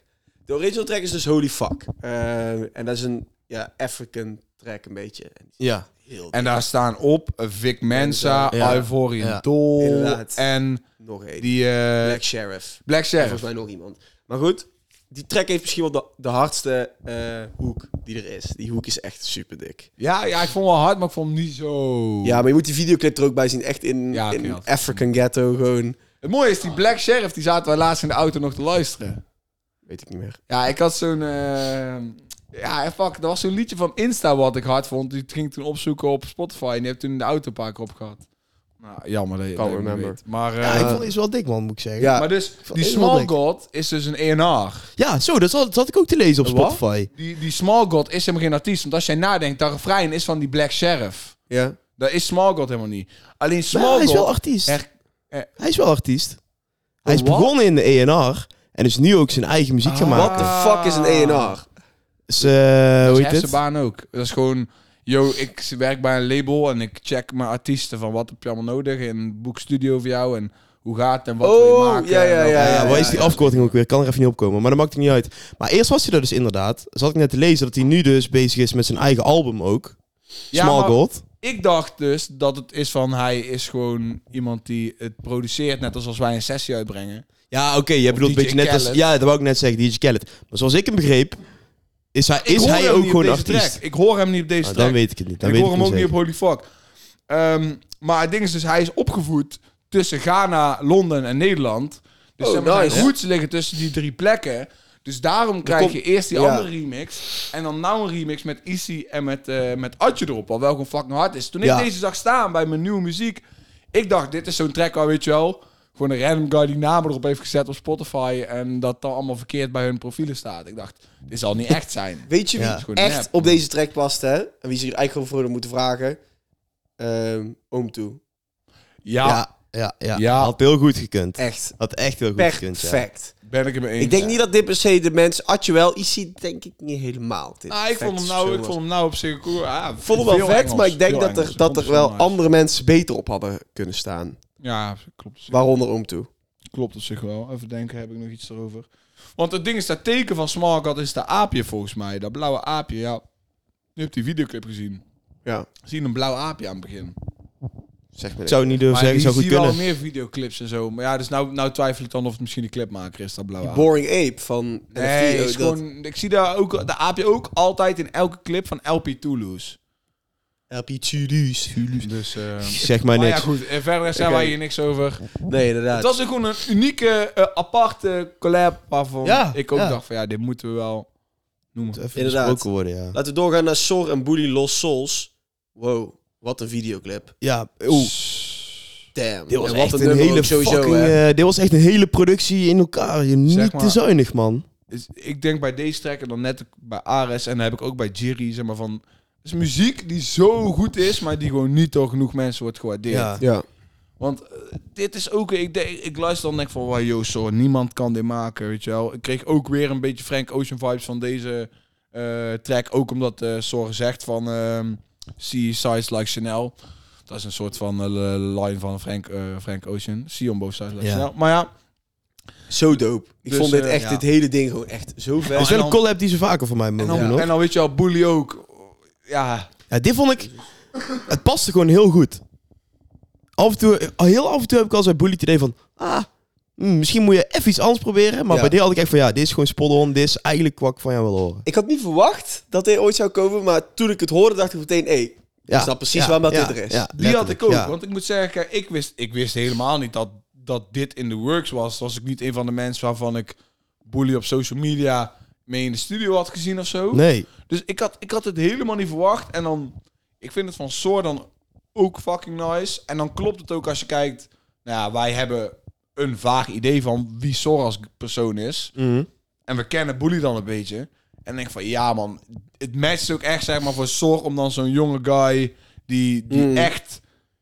De original track is dus Holy Fuck. Eh, en dat is een ja, African track een beetje. En
Ja.
heel
En daar staan op eh, Vic Mensa,
Ja.
Ivorian
Ja.
Doll
Inderdaad.
en
nog één.
die eh,
Black Sheriff.
Black
En
Sheriff.
Volgens mij nog iemand. Maar goed, die track heeft misschien wel de, de hardste eh, hoek die er is. Die hoek is echt super dik.
Ja, ja, ik vond hem wel hard, maar ik vond hem niet zo...
Ja, maar je moet die videoclip er ook bij zien. Echt in,
Ja, oké,
in
dat-
African Ghetto gewoon.
Het mooie is, die Black Sheriff, die zaten wij laatst in de auto nog te luisteren.
Weet ik niet meer.
Ja, ik had zo'n... eh, ja, fuck, er was zo'n liedje van Insta wat ik hard vond. Die ging ik toen opzoeken op Spotify en die heb toen in de auto een paar keer op gehad. Nou, jammer dat je
Can't
dat je het
remember.
weet. Maar,
Ja,
eh,
ik vond deze wel dik, man, moet ik zeggen.
Ja.
maar dus,
vond
die
één
Small
wel dik.
God is dus een ENR.
Ja, zo, dat zat, zat ik ook te lezen op
Wat?
Spotify.
Die, die Small God is helemaal geen artiest. Want als jij nadenkt, dat refrein is van die Black Sheriff.
Ja.
Dat is Small God helemaal niet. Alleen
Maar
Small
hij is wel
God...
artiest.
her- her-
Hij is wel artiest. Hij is
Wat?
begonnen in de ENR en is nu ook zijn eigen muziek
Ah.
gaan
What the
maken.
fuck is een ENR?
Dus, eh,
Dat
hoe
is
heet het?
hersenbaan ook. Dat is gewoon... Yo, ik werk bij een label en ik check mijn artiesten van wat heb je allemaal nodig en boek studio voor jou en hoe gaat het en wat wil je
Oh,
maken.
ja, ja,
en Dus welke-
Ja,
ja,
Eh, wat is die
ja.
afkorting ook weer? Ik kan er even niet opkomen, maar dat maakt het niet uit. Maar eerst was hij daar dus inderdaad. Zat ik net te lezen dat hij nu dus bezig is met zijn eigen album ook.
Ja,
Small
maar
God.
Ik dacht dus dat het is van hij is gewoon iemand die het produceert, net als als wij een sessie uitbrengen.
Ja, oké, jij bedoelt een
DJ
beetje net als...
Khaled.
Ja, dat wou ik net zeggen, DJ Khaled. Maar zoals ik hem begreep, is hij,
Ik
is
hoor
hij
hem
ook
niet op
gewoon
deze
artiest.
track. Ik hoor hem niet op deze
Nou,
track.
dan weet ik het niet. Dan
En ik
weet
hoor hem
het
ook niet
niet
op Holy Fuck. Ehm, maar het ding is dus, hij is opgevoed tussen Ghana, Londen en Nederland. Dus
Oh,
zeg maar, zijn
nice.
roots liggen tussen die drie plekken. Dus daarom krijg
komt-
je eerst die
ja.
andere remix. En dan nou een remix met Issy en met, eh met Atje erop. Wat wel gewoon fucking hard is. Toen
Ja.
ik deze zag staan bij mijn nieuwe muziek. Ik dacht, dit is zo'n track waar, weet je wel... Gewoon een random guy die namen erop heeft gezet op Spotify. En dat dan allemaal verkeerd bij hun profielen staat. Ik dacht, dit zal niet echt zijn.
Weet je wie
Ja.
Gewoon
echt
nep,
op
man.
deze track past, hè? En wie ze hier eigenlijk gewoon voor hadden moeten vragen? Ehm Oom Toe.
Ja,
Ja, ja, ja,
Ja.
Had heel goed gekund.
Echt
Had echt heel goed gekund, ja.
perfect.
ben ik het mee eens.
Ik denk niet dat dit per se de mensen... Atje wel, Issy denk ik niet helemaal. Dit
Ah, ik vond hem nou, ik vond hem nou op zich cool. Ah,
Ik vond hem wel vet, maar ik denk dat er, dat er wel andere mensen beter op hadden kunnen staan.
Ja, klopt. op zich-
Waaronder Oom Toe.
Klopt op zich wel. Even denken, heb ik nog iets erover? Want het ding is, dat teken van Smargat is dat aapje volgens mij. Dat blauwe aapje, ja. Nu heb die videoclip gezien.
Ja,
Zie je een blauw aapje aan het begin.
zeg maar.
Ik zou het niet durven
Maar
zeggen,
ik
zou goed
zie wel
kunnen.
meer videoclips en zo. Maar ja, dus nou, nou twijfel ik dan of het misschien de clipmaker is, dat blauwe
Die
aapje.
Boring Ape van NFT.
Ah. Nee,
ook
is
oh, dat-
gewoon, ik zie daar ook, de aapje ook altijd in elke clip van LP Toulouse.
LP Chili's.
Dus, eh
Zeg maar
maar ja,
niks.
goed. eh, Verder zijn
Oké.
wij hier niks over.
Nee, inderdaad.
Het was ook gewoon een unieke, eh, aparte collab waarvan
Ja,
ik ook
ja.
dacht van ja, dit moeten we wel noemen.
Even
Inderdaad.
besproken worden, ja.
Laten we doorgaan naar Sor en Bully Los Souls. Wow, wat een videoclip.
Ja, oeh.
Damn.
Dit was
En wat
echt een,
nummer
hele
ook sowieso,
fucking...
hè.
eh, dit was echt een hele productie in elkaar. Je
Zeg
niet
maar.
te zuinig, man.
Dus ik denk bij deze track en dan net bij Ares en dan heb ik ook bij Jiri zeg maar van het is muziek die zo goed is, maar die gewoon niet door genoeg mensen wordt gewaardeerd.
Ja.
Ja.
Want eh, dit is ook, ik, denk- ik luister dan en denk van, wow, yo, sorry, niemand kan dit maken, weet je wel. Ik kreeg ook weer een beetje Frank Ocean vibes van deze eh, track. Ook omdat eh Sor zegt van, ehm see size like Chanel. Dat is een soort van eh, line van Frank, eh, Frank Ocean. See on both sides like
Ja.
Chanel. Maar ja,
Zo dope. Ik
Dus,
vond dit
eh,
echt,
ja.
dit hele ding gewoon echt zo
Het
vet.
is
en
wel een
dan-
collab die ze vaker voor mij
en
mogen
dan,
doen, hoor.
en dan weet je wel, Bully ook. Ja,
Ja, dit vond ik... Het paste gewoon heel goed. Af en toe, heel af en toe heb ik al zo'n bullet idee van... Ah, mm, misschien moet je even iets anders proberen. Maar
Ja.
bij dit had ik echt van... Ja, dit is gewoon spot-on. Dit is eigenlijk wat ik van jou wil horen.
Ik had niet verwacht dat dit ooit zou komen, maar toen ik het hoorde dacht ik meteen, hé, hey,
Ja.
snap precies waarom dat dit er is.
die had
letterlijk,
ik ook.
ja.
Want ik moet zeggen, kijk, ik wist, ik wist helemaal niet dat, dat dit in de works was. Was ik niet een van de mensen waarvan ik Bully op social media mee in de studio had gezien of zo.
Nee.
Dus ik had, ik had het helemaal niet verwacht. En dan, ik vind het van Soor dan ook fucking nice. En dan klopt het ook als je kijkt, nou ja, wij hebben een vaag idee van wie Soor als persoon is. En we kennen Bully dan een beetje. En denk van, ja man, het matcht ook echt zeg maar voor zorg om dan zo'n jonge guy die, die
Mm.
echt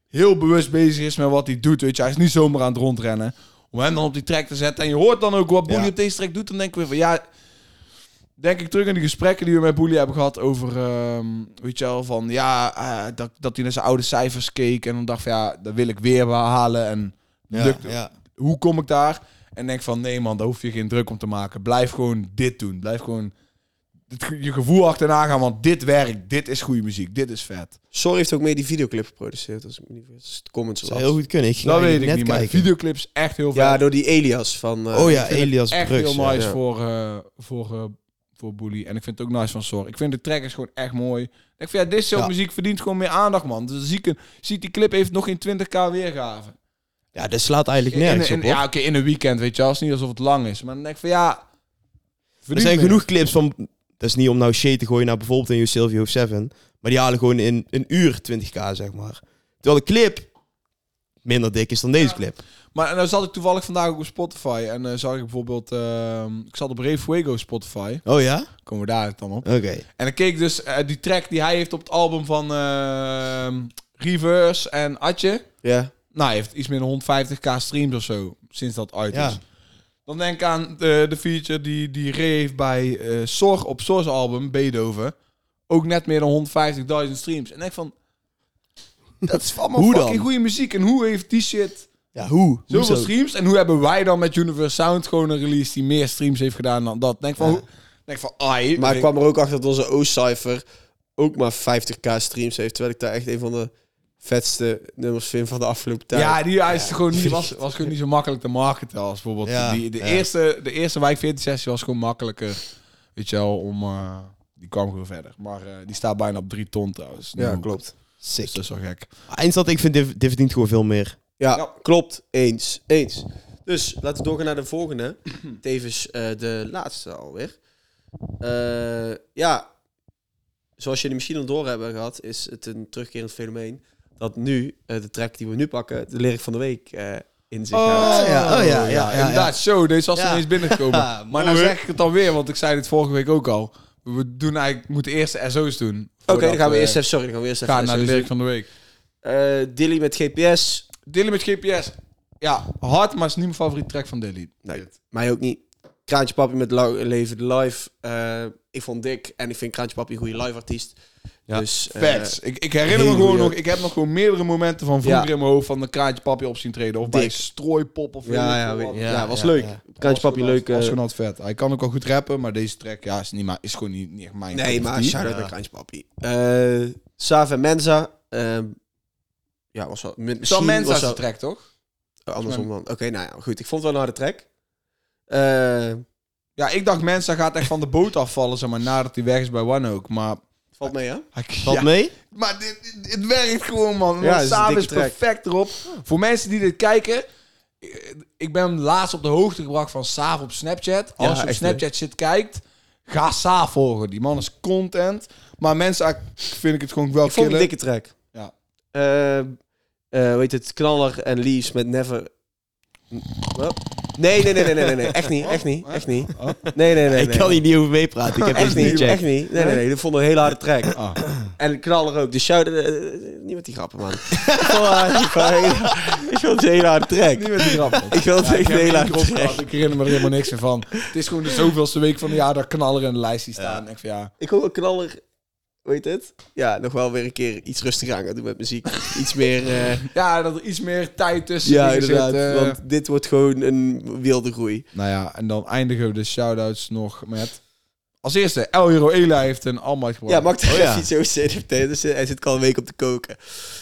heel bewust bezig is met wat hij doet. Weet je, hij is niet zomaar aan het rondrennen. Om hem dan op die track te zetten. En je hoort dan ook wat Bully
Ja.
op deze track doet. Dan denk ik weer van, ja... Denk ik terug aan die gesprekken die we met Bully hebben gehad over, ehm, weet je wel, van ja, eh, dat, dat hij naar zijn oude cijfers keek en dan dacht van ja, dat wil ik weer halen en
Ja,
lukt,
ja.
hoe kom ik daar? En denk van, nee man, daar hoef je geen druk om te maken. Blijf gewoon dit doen. Blijf gewoon het ge- je gevoel achterna gaan, want dit werkt, dit is goede muziek, dit is vet.
Sorry heeft ook mee die videoclip geproduceerd. Als ik me niet vergis. Dus de comments
zou
las.
heel goed kunnen. Ik ging
Dat weet ik niet,
eigenlijk
maar
net
de
kijken.
videoclips echt heel vet.
Ja, door die Elias van... eh,
Oh ja,
Ik vind het
Elias
echt
Brugs.
heel
ja.
nice
ja.
voor, eh, voor, eh, voor Bully. En ik vind het ook nice van Sor. Ik vind de track is gewoon echt mooi. Ik vind, ja, dit soort
Ja.
muziek verdient gewoon meer aandacht, man. Dus zie ik een- zie ik die clip heeft nog geen 20k weergave.
Ja, dat slaat eigenlijk
In,
nergens
in-
op.
ja,
hoor.
oké, in een weekend, weet je wel. Het is niet alsof het lang is. Maar dan denk ik van, ja...
er
verdient
zijn
meer.
genoeg clips van... Dat is niet om nou shit te gooien naar bijvoorbeeld een Silvio of Seven. Maar die halen gewoon in een uur 20k, zeg maar. Terwijl de clip minder dik is dan deze clip.
Maar en dan zat ik toevallig vandaag ook op Spotify. En eh, zag ik bijvoorbeeld... ehm, ik zat op Ray Fuego Spotify.
Oh ja?
Komen we daar dan op.
Oké.
En dan keek ik dus eh, die track die hij heeft op het album van... ehm, Reverse en Atje.
Ja.
Nou, hij heeft iets meer dan 150k streams of zo sinds dat uit is.
Ja.
Dan denk ik aan de, de feature die, die Ray heeft bij eh Sor op Sor's album, Beethoven. Ook net meer dan 150.000 streams. En ik denk van, dat is allemaal
Hoe dan?
Oh, fucking goede muziek. En hoe heeft die shit
Ja, hoe? Hoe
zoveel
zo-
streams? En hoe hebben wij dan met Universe Sound gewoon een release die meer streams heeft gedaan dan dat? Denk van, hoe- denk van, ai.
Maar ik
ik-
kwam er ook achter dat onze O-Cypher ook maar 50k streams heeft. Terwijl ik daar echt een van de vetste nummers vind van de afgelopen tijd.
Ja, die hij is gewoon niet, was, was gewoon niet zo makkelijk te marketen als bijvoorbeeld
Ja,
die, de,
ja.
eerste, de eerste wijk 40 sessie was gewoon makkelijker. Weet je wel, om, eh, die kwam gewoon verder. Maar eh, die staat bijna op drie ton trouwens.
Ja,
Nu.
klopt.
Sick.
Dus dat is wel gek.
Eindstad, ik vind dit, dit verdient gewoon veel meer.
Ja,
Ja.
klopt. Eens. Eens. Dus laten we doorgaan naar de volgende. Tevens eh, de laatste alweer. Eh, ja, zoals jullie misschien al door hebben gehad, is het een terugkerend fenomeen dat nu eh, de track die we nu pakken, de lyric van de week eh, in zich houdt.
ja, oh ja, ja, ja,
inderdaad, zo. Deze was
Ja.
ineens binnengekomen.
Ja,
maar nou zeg ik het alweer, want ik zei dit vorige week ook al. We doen eigenlijk, we moeten eerst de SO's doen.
Oké,
voordat
dan gaan we eerst
eh,
even, sorry, dan gaan we eerst even.
gaan naar de
sorry,
lyric van de week.
Eh, Dilly met GPS.
Dilly met GPS. Ja, hard, maar is niet mijn favoriete track van Dilly.
Nee, mij ook niet. Kraantje Papi met Lau- Leven de Live. Eh, ik vond Dick en ik vind Kraantje Papi een goede live artiest.
Ja,
dus, eh,
Facts. ik, ik herinner me
heel
gewoon
goeie.
nog, ik heb nog gewoon meerdere momenten van vroeger
Ja.
in mijn hoofd van een kraantje papje op zien treden. Of bij
Dik.
strooipop of weet
ja,
ik
ja,
veel
weet-
wat.
ja,
Ja,
was
ja,
leuk.
ja.
Was
Kraantje Papi
gewoon
leuk.
al- Was
eh,
gewoon al vet. Hij kan ook wel goed rappen, maar deze track ja, is, niet, maar, is gewoon niet, niet echt mijn.
Nee,
cup of
maar
tea.
shout-out
Ja.
naar Kraantje Papi. Eh Sav en Mensa. ehm, ja, was wel... met-
Sam
Misschien
Mensa
was
is de
wel-
track, toch?
oh, andersom dan. Oké, nou ja, goed. Ik vond het wel een harde track. Eh,
Ja, ik dacht Mensa gaat echt van de boot afvallen, zeg maar, nadat hij weg is bij One ook. Maar,
valt mee, hè?
hij,
Valt
ja,
mee?
maar dit, dit- het werkt gewoon, man.
Ja, het
Ja,
is een
Samen
dikke
is
track.
perfect erop. Voor mensen die dit kijken... ik- Ik ben laatst op de hoogte gebracht van Saaf op Snapchat. Als
Ja,
je op
echt, hè?
Snapchat zit kijkt, ga Saaf volgen. Die man is content. Maar mensen ah, vind ik het gewoon wel
Ik vond het
killen.
een dikke track. Ehm,
Ja.
weet het, Knaller en Leaves met Never... Wat? Nee, nee, nee, nee, nee, nee, nee. Echt niet, echt niet, echt niet.
Oh.
Nee, nee, nee.
ik
nee.
kan hier niet over meepraten. Ik heb
Echt
echt niet
niet, echt
gecheckt.
niet. Nee, nee, nee. Ik vond het een hele harde track.
Ah.
En knaller ook. Dus shout... eh, eh, niet met die grappen, man. ik vond het echt een hele- ik vond het een hele harde track.
Niet met die grap. man.
Ik wil het
Ja,
echt
ik,
een
heb
hele
het
harde
niet
track.
gehad. ik herinner me er helemaal niks meer van. Het is gewoon de zoveelste week van het jaar dat knaller in de lijst die staan. Ik van, ja.
Ik hoop een knaller... Weet het? Ja, nog wel weer een keer iets rustiger aan gaan doen met muziek. Iets meer... eh,
ja, dat er iets meer tijd tussen
ja,
dingen zit,
inderdaad.
eh.
Want dit wordt gewoon een wilde groei.
Nou ja, en dan eindigen we de shout-outs nog met... Als eerste, El Hero Ela heeft een almacht
Ja,
gewonnen.
mag daar
Oh,
even
ja.
iets over zeggen? Dus, eh, hij zit al een week op te koken.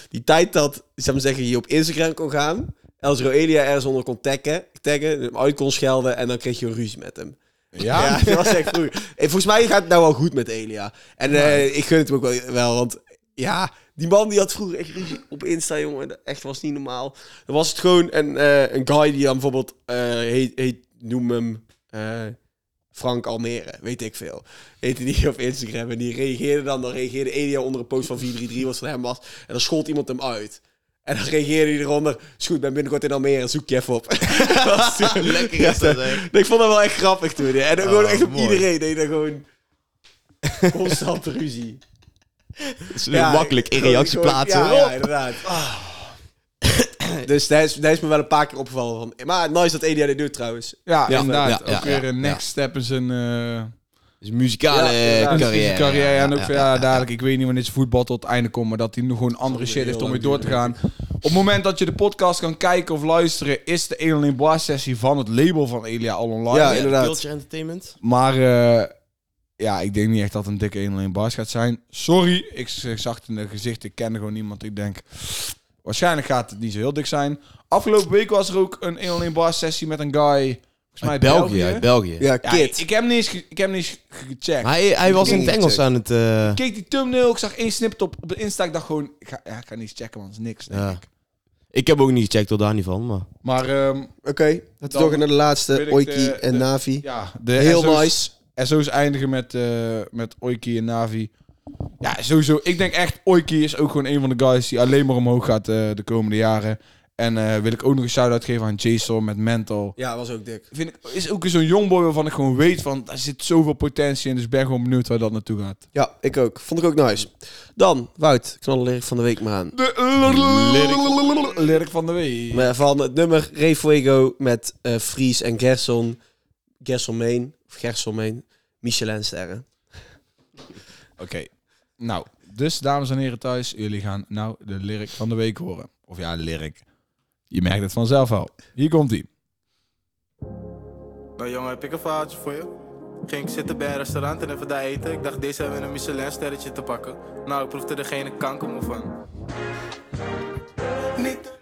Die tijd dat, zou maar zeggen, je op Instagram kon gaan... Els Roelia ergens onder kon taggen, taggen, hem uit kon schelden... en dan kreeg je een ruzie met hem.
ja?
Ja, dat was echt vroeg. En volgens mij gaat het nou wel goed met Elia. En eh, ik gun het hem ook wel, wel, want ja, die man die had vroeger echt ruzie op Insta, jongen. Dat echt was niet normaal. Dan was het gewoon een, eh, een guy die dan bijvoorbeeld eh, heet, heet, noem hem eh, Frank Almere, weet ik veel. Heette die op Instagram en die reageerde dan, dan reageerde Elia onder een post van 433 wat van hem was. En dan schold iemand hem uit. En dan reageerde hij eronder, is goed, ben binnenkort in Almere, zoek je even op. Dat was toen-
Lekker is dat, hè?
Nee, Ik vond dat wel echt grappig toen. ja. En ook
Oh,
gewoon echt op
mooi.
iedereen. Nee, dan gewoon constant ruzie.
Dat is makkelijk in Oh. reactie
gewoon-
plaatsen.
Ja,
hoor.
ja, inderdaad. Dus daar is, daar is me wel een paar keer opgevallen van. Maar nice dat Edia dit doet trouwens.
Ja,
Ja,
inderdaad.
ja, ja,
ook weer
ja,
een
ja.
next step in zijn eh,
Dus een muzikale
Ja, ja,
eh,
in zijn
carrière.
carrière.
Ja,
en ook
ja,
van,
ja.
ja, dadelijk, ik weet niet wanneer zijn voetbal tot het einde komt, maar dat hij nog gewoon andere shit heeft om
heel
weer door te gaan. Op het moment dat je de podcast kan kijken of luisteren, is de 101 Bar sessie van het label van Elia al online.
Ja, inderdaad.
Culture Entertainment.
Maar eh, ja, ik denk niet echt dat het een dikke 1-1 Bars gaat zijn. Sorry, ik z- ik zag het in de gezicht. Ik kende gewoon niemand. Ik denk, waarschijnlijk gaat het niet zo heel dik zijn. Afgelopen week was er ook een 1-1 Bars sessie met een guy. Volgens mij
Uit
uit
België,
België.
uit België.
Ja,
Ja,
kid.
Ik, ik heb hem niet eens, ge- ik heb hem niet eens ge- gecheckt.
Maar hij, hij was in het Engels aan het... eh,
Ik keek die thumbnail, ik zag één snippet op, op de Insta. Ik dacht gewoon, ik ga, ja, ik ga niet eens checken, want het is niks. Denk
Ja.
ik.
ik heb ook niet gecheckt door daar niet van, maar...
Maar ehm,
Oké, dat is toch naar de laatste.
wil ik
Oiki
de-
en
de-
Navi.
ja, de
Heel
SO's
nice.
SO's eindigen met, eh, met Oiki en Navi. Ja, sowieso. Ik denk echt, Oiki is ook gewoon een van de guys die alleen maar omhoog gaat eh, de komende jaren. En eh, wil ik ook nog een shout-out geven aan Jason met Mental.
Ja, was ook dik.
Vind ik, is ook weer zo'n jongboy waarvan ik gewoon weet van, daar zit zoveel potentie in. Dus ik ben gewoon benieuwd waar dat naartoe gaat.
Ja, ik ook. Vond ik ook nice. Dan, Wout, knallenlerig van de week maar aan.
De lyric van de week.
Maar Van het nummer Refuego met eh Fries en Gerson. Gersonmeen, of Gersonmeen, Michelinsterren.
Oké. Nou, dus dames en heren thuis, jullie gaan nou de lyric van de week horen. Of ja, lyric. Je merkt het vanzelf al. Hier komt ie.
Nou jongen, heb ik een verhaaltje voor je. Ging ik zitten bij een restaurant en even daar eten. Ik dacht, deze hebben een Michelin sterretje te pakken. Nou, ik proefde er geen kankermoe van. Niet.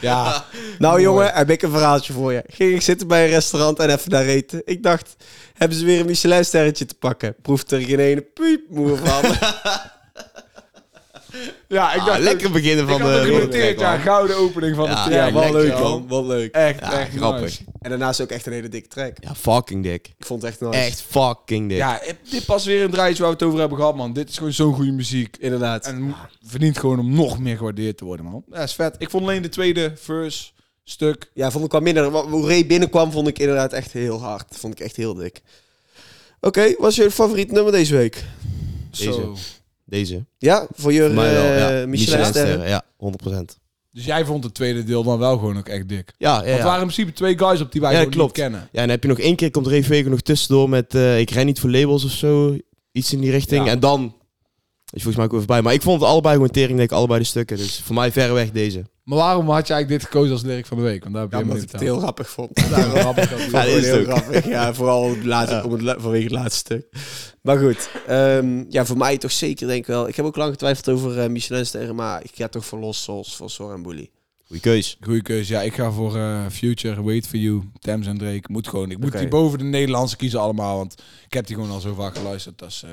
Ja,
Nou jongen, heb ik een verhaaltje voor je. Ging ik zitten bij een restaurant en even daar eten. Ik dacht, hebben ze weer een Michelinsterretje te pakken? Proeft er geen ene piepmoer van.
ja ik
Ah, lekker beginnen van
ik had
de...
ook genoteerd, ja, gouden opening van
Ja,
de
ja,
track.
wel
lekker,
leuk
man.
man, wel leuk.
Echt,
Ja,
echt
grappig.
nice.
En daarnaast ook echt een hele dikke track.
Ja, fucking dik.
Ik vond het echt nice.
Echt fucking dik.
Ja, dit pas weer een draadje waar we het over hebben gehad, man. Dit is gewoon zo'n goede muziek.
Inderdaad.
En mo- verdient gewoon om nog meer gewaardeerd te worden, man. Ja, is vet. Ik vond alleen de tweede verse stuk.
Ja, vond ik wel minder. Wat- Hoe Ray binnenkwam, vond ik inderdaad echt heel hard. Vond ik echt heel dik. Oké, wat is je favoriet nummer deze week?
Deze.
Zo.
Deze.
Ja, voor je
Voor mij wel, ja.
eh Michelin-sterren.
Michelinsterren, Ja, 100%.
Dus jij vond het tweede deel dan wel gewoon ook echt dik.
Ja, ja,
Want het
ja.
waren in principe twee guys op die wij
Ja,
ook
dat klopt.
niet kennen.
Ja, en dan heb je nog één keer, komt Revego nog tussendoor met eh, ik ren niet voor labels of zo. Iets in die richting.
Ja.
En dan is volgens mij ook weer voorbij. Maar ik vond het allebei gewoon tering, denk ik, allebei de stukken. Dus voor mij verreweg deze.
Maar waarom had je eigenlijk dit gekozen als lyric van de week? Want daar heb je
Ja,
helemaal
omdat ik
niet
het
aan.
heel grappig vond.
Daarom rap ik dat niet.
Ja, dit is
heel
het ook.
grappig. Ja, vooral het laatste, om het la- vanwege het laatste stuk. Maar goed, ehm, ja, voor mij toch zeker denk ik wel. Ik heb ook lang getwijfeld over eh Michelinsterren, maar ik ga toch voor Los Souls, voor Sor en Bully.
Goeie keus.
Goeie keuze. Ja, ik ga voor eh, Future, Wait For You, Thames en Drake. Moet gewoon. Ik moet
Oké.
die boven de Nederlandse kiezen allemaal, want ik heb die gewoon al zo vaak geluisterd. Dat is, eh,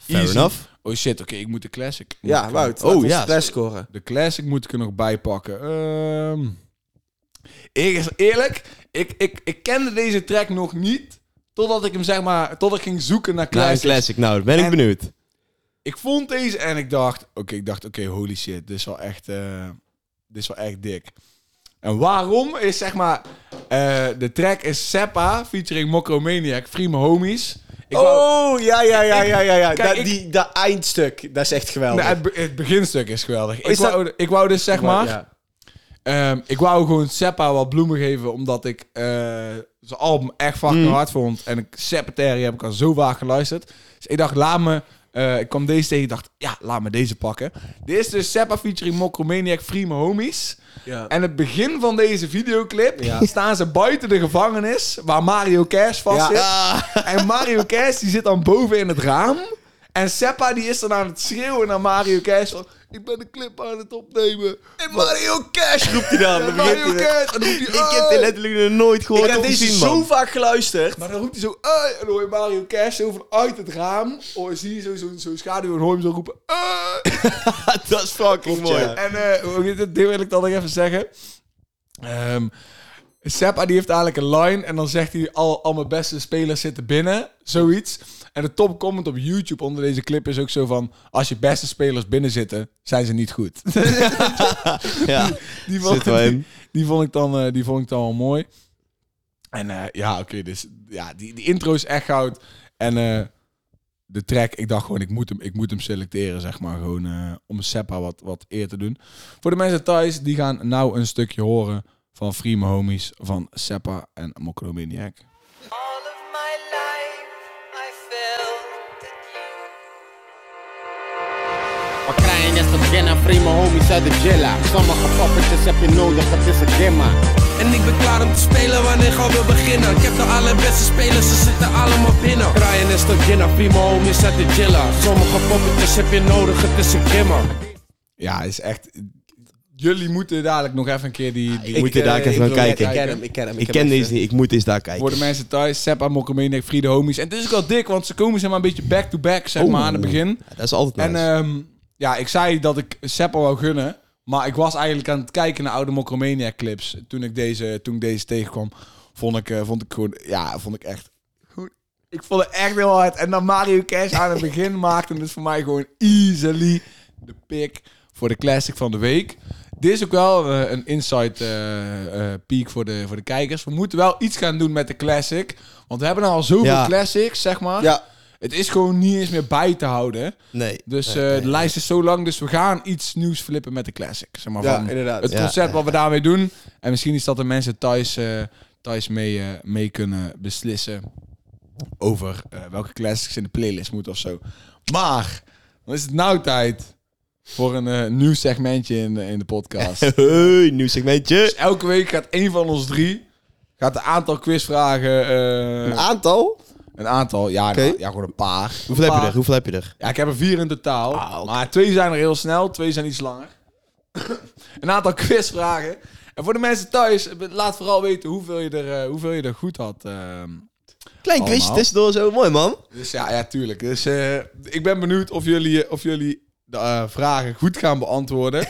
Fair
easy.
enough.
Oh shit, oké, ik moet de classic. Moet ik
Ja,
er-
Wout,
Oh,
oh,
ja.
ja. de scoren.
De classic moet ik er nog bij pakken. Ehm, eerlijk, eerlijk ik, ik, ik kende deze track nog niet, totdat ik hem zeg maar, totdat ik ging zoeken naar
Nou, een
classics.
classic. Nou, ben ik
En-
benieuwd.
ik vond deze en ik dacht, oké, ik dacht, oké, holy shit, dit is wel echt, eh, dit is wel echt dik. En waarom is zeg maar, eh, de track is Seppa featuring Mokromaniac, Free My Homies. Ik wou-
Oh, ja, ja, ja, ja, ja. ja.
Kijk,
dat,
ik-
die, dat eindstuk, dat is echt geweldig.
Nee, Nou, het, be- het beginstuk is geweldig. ik,
Oh, is dat-
wou, ik wou dus zeg maar,
Ja.
ehm, ik wou gewoon Seppa wat bloemen geven, omdat ik eh, zijn album echt fucking hard vond. En ik, Seppa Terry heb ik al zo vaak geluisterd. Dus ik dacht, laat me... eh, ik kwam deze tegen, ik dacht, ja, laat me deze pakken. Dit is dus Seppa featuring Mokromaniac, Free My Homies.
Ja.
En het begin van deze videoclip staan ze buiten de gevangenis waar Mario Kers vast zit.
Ah.
En Mario Kers die zit dan boven in het raam. En Seppa die is dan aan het schreeuwen naar Mario Kers van... Ik ben de clip aan het opnemen. En Mario Kers roept
Die dan, dan begint
Mario
hij weer.
Kers. En dan roept hij...
Ik heb dit
"Hey!"
letterlijk nog nooit gehoord.
Ik heb
of
deze
gezien,
zo
man.
vaak geluisterd.
Maar dan roept hij zo... "Hey!" En dan hoor je Mario Kers zo vanuit het raam. Hoor, zie je zo'n zo, zo zo'n schaduw en hoor je hem zo roepen... "Hey!"
dat is fucking
Klopt, ja.
mooi.
En eh, hoe heet het? dit wil ik dan nog even zeggen. Ehm Seppa die heeft eigenlijk een line en dan zegt hij al, al mijn beste spelers zitten binnen, zoiets. En de top comment op YouTube onder deze clip is ook zo van, als je beste spelers binnen zitten, zijn ze niet goed.
Ja.
Die
Zit wel
die,
in.
die vond ik dan, eh, die vond ik dan wel mooi. En eh, ja, oké, dus ja, die, die intro is echt goud. En eh, de track, ik dacht gewoon, ik moet hem, ik moet hem selecteren, zeg maar. Gewoon eh, om Seppa wat, wat eer te doen. Voor de mensen thuis, die gaan nou een stukje horen van Free My Homies van Seppa en Mokromaniac.
All of my life I felt that you
Wat krijg
Flying is geen en vreemde homies uit de jilla. Sommige poppetjes heb je nodig, het is een gimma.
En ik ben klaar om te spelen wanneer gaan we beginnen Ik heb de allerbeste spelers, ze zitten allemaal binnen Ryan is de winnaar, prima homies uit de jilla Sommige poppetjes heb je nodig, het is een gimmer
Ja, is echt... Jullie moeten dadelijk nog even een keer die... die
Ah, Ik moet er daar even gaan kijken.
eh, Ik ken hem, ik ken hem.
Ik
heb eh,
ken
even-
deze niet, ik moet eens daar kijken.
Worden mensen thuis, Seppa, Mokkermenek, Friede Homies. En het is ook wel dik, want ze komen zeg maar een beetje back-to-back, zeg
Oh.
maar, aan het begin.
Ja, dat is altijd nice.
En ehm, ja, ik zei dat ik Seppa wou gunnen. Maar ik was eigenlijk aan het kijken naar oude Mokromania clips. Toen ik deze, toen ik deze tegenkwam, vond ik, eh, vond ik gewoon... Ja, vond ik echt goed. Ik vond het echt heel hard. En dan Mario Cash aan het begin maakte het voor mij gewoon easily de pick voor de classic van de week. Dit is ook wel eh, een insight eh, eh, peak voor de, voor de kijkers. We moeten wel iets gaan doen met de classic. Want we hebben al zoveel
Ja.
classics, zeg
eh,
maar.
Ja,
Het is gewoon niet eens meer bij te houden.
nee.
Dus eh, de lijst is zo lang, dus we gaan iets nieuws flippen met de classic. Zeg maar,
ja
van
inderdaad.
het
Ja,
concept wat we daarmee doen. En misschien is dat de mensen thuis, eh, thuis mee, eh, mee kunnen beslissen over eh, welke classics in de playlist moeten of zo. Maar, dan is het nou tijd voor een eh, nieuw segmentje in, in de podcast.
Hey, nieuw segmentje.
dus elke week gaat één van ons drie, gaat een aantal quizvragen, eh,
Een aantal?
een aantal, ja,
Oké.
ja gewoon een paar.
Hoeveel heb
Een
je
paar.
er? Hoeveel heb je er?
Ja, ik heb er vier in totaal. Maar twee zijn er heel snel, twee zijn iets langer. een aantal quizvragen. En voor de mensen thuis, laat vooral weten hoeveel je er, eh, hoeveel je er goed had. ehm.
Klein
Allemaal.
quizje tussendoor zo. Mooi, man.
dus ja, ja, tuurlijk. Dus eh, ik ben benieuwd of jullie, eh, of jullie de eh, vragen goed gaan beantwoorden.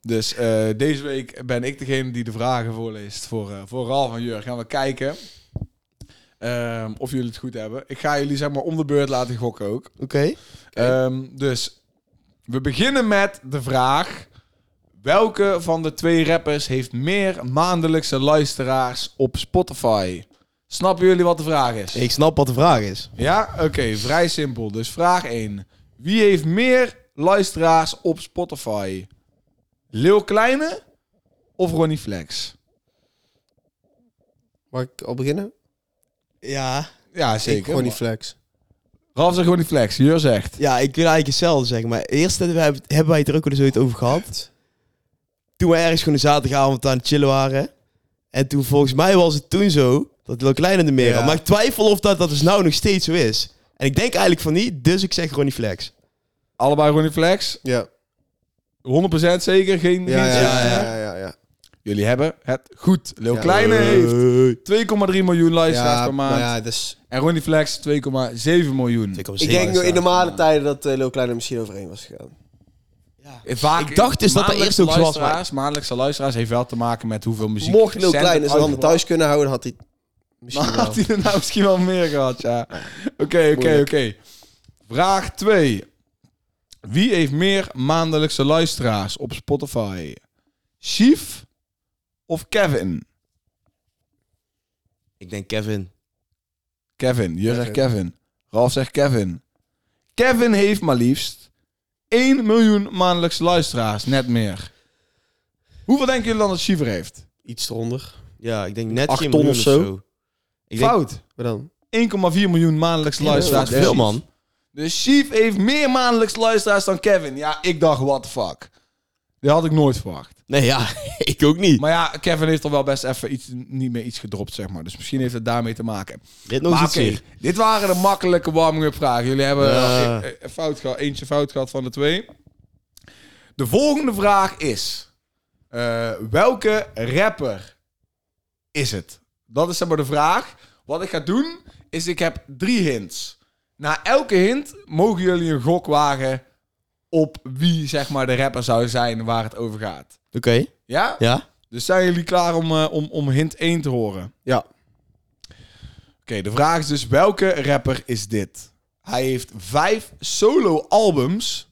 dus eh, deze week ben ik degene die de vragen voorleest voor, eh voor Ralf en Jur. Gaan we kijken ehm, of jullie het goed hebben. Ik ga jullie zeg maar om de beurt laten gokken ook.
Oké.
Ehm, dus we beginnen met de vraag: welke van de twee rappers heeft meer maandelijkse luisteraars op Spotify? Snappen jullie wat de vraag is?
Ik snap wat de vraag is.
Ja, oké, vrij simpel. Dus vraag 1: wie heeft meer luisteraars op Spotify? Lil Kleine of Ronnie Flex?
Mag ik al beginnen?
Ja.
Ja,
Ik gewoon
zeker.
die flex.
Ralf zegt Ronnie Flex, Jur zegt.
Ja, ik wil eigenlijk hetzelfde zeggen. Maar eerst hebben wij, hebben wij het er ook wel eens ooit over gehad. Toen we ergens gewoon een zaterdagavond aan het chillen waren. En toen volgens mij was het toen zo dat Lil Kleine er meer
Ja.
had. Maar ik twijfel of dat, dat dus nou nog steeds zo is. En ik denk eigenlijk van niet, dus ik zeg Ronnie Flex.
Allebei Ronnie Flex.
Ja.
100% zeker, geen,
Ja,
geen
ja, ja,
twijfel.
ja, ja, ja.
Jullie hebben het goed. Lil
Ja. Eh.
Kleine heeft 2,3 miljoen luisteraars
Ja,
per
maar
maand.
ja, dus...
En Ronnie Flex 2,7 miljoen.
Ik denk
eh,
in normale tijden dat eh Lil Kleine er misschien overheen was gegaan.
Eh, Vaak-
Ik dacht dus dat dat
maandelijkse
eerst ook zo was,
luisteraars- Maandelijkse luisteraars heeft wel te maken met hoeveel muziek...
Mocht Lil Kleine
Kleine
zijn handen thuis kunnen houden, had hij misschien
Maar
wel.
had hij er nou misschien wel meer gehad, ja. Oké, oké,
Moeilijk.
oké. Vraag 2. Wie heeft meer maandelijkse luisteraars op Spotify? Chief of Kevin?
Ik denk Kevin.
Kevin. Je zegt Kevin. Ralf zegt Kevin. Kevin heeft maar liefst 1 miljoen maandelijks luisteraars, net meer. Hoeveel denken jullie dan dat Shiver heeft?
Iets eronder.
Ja, ik denk net
Acht
geen
ton
miljoen
of zo.
Ik denk,
Fout.
Maar dan?
1,4 miljoen maandelijks luisteraars.
fuck veel, man.
Dus Chief heeft meer maandelijks luisteraars dan Kevin. Ja, ik dacht, what the fuck. Dat had ik nooit verwacht.
Nee, ja, ik ook niet.
Maar ja, Kevin heeft al wel best even iets, niet meer iets gedropt, zeg maar. Dus misschien heeft het daarmee te maken.
Dit nog
Maar
eens
oké,
iets hier.
dit waren de makkelijke warming-up vragen. Jullie hebben
Ja.
eh, eh, fout gehad, eentje fout gehad van de twee. De volgende vraag is... eh, welke rapper is het? Dat is zeg maar de vraag. Wat ik ga doen, is ik heb drie hints. Na elke hint mogen jullie een gok wagen... op wie zeg maar de rapper zou zijn waar het over gaat.
Oké,
Ja?
ja.
Dus zijn jullie klaar om, eh, om, om hint 1 te horen?
Ja.
Oké, de vraag is dus welke rapper is dit? Hij heeft vijf solo-albums.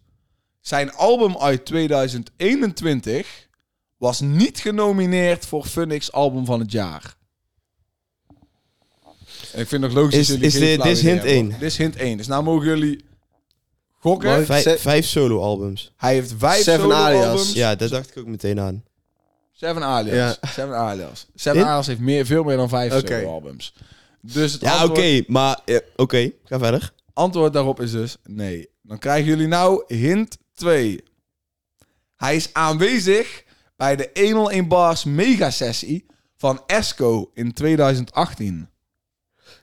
Zijn album uit 2021 was niet genomineerd voor Phoenix Album van het jaar. En ik vind het ook logisch
Is-
dat jullie
is
geen
dit-
flauw
dit is
idee
hint
hebben.
één.
Dit is hint 1. Dus nou mogen jullie gokken.
Mooi.
Vijf,
Ze-
vijf solo-albums.
Hij heeft vijf
Seven
solo-albums.
Alias.
Ja, dat dacht ik ook meteen aan.
Seven Alias.
Ja.
Seven Alias. Seven
Dit?
Alias heeft meer, veel meer dan vijf
Oké.
solo-albums. Dus het
Ja, oké,
antwoord-
maar... eh, oké, ga verder.
Antwoord daarop is dus nee. Dan krijgen jullie nou hint 2. Hij is aanwezig bij de 101 Bars megasessie van Esco in 2018.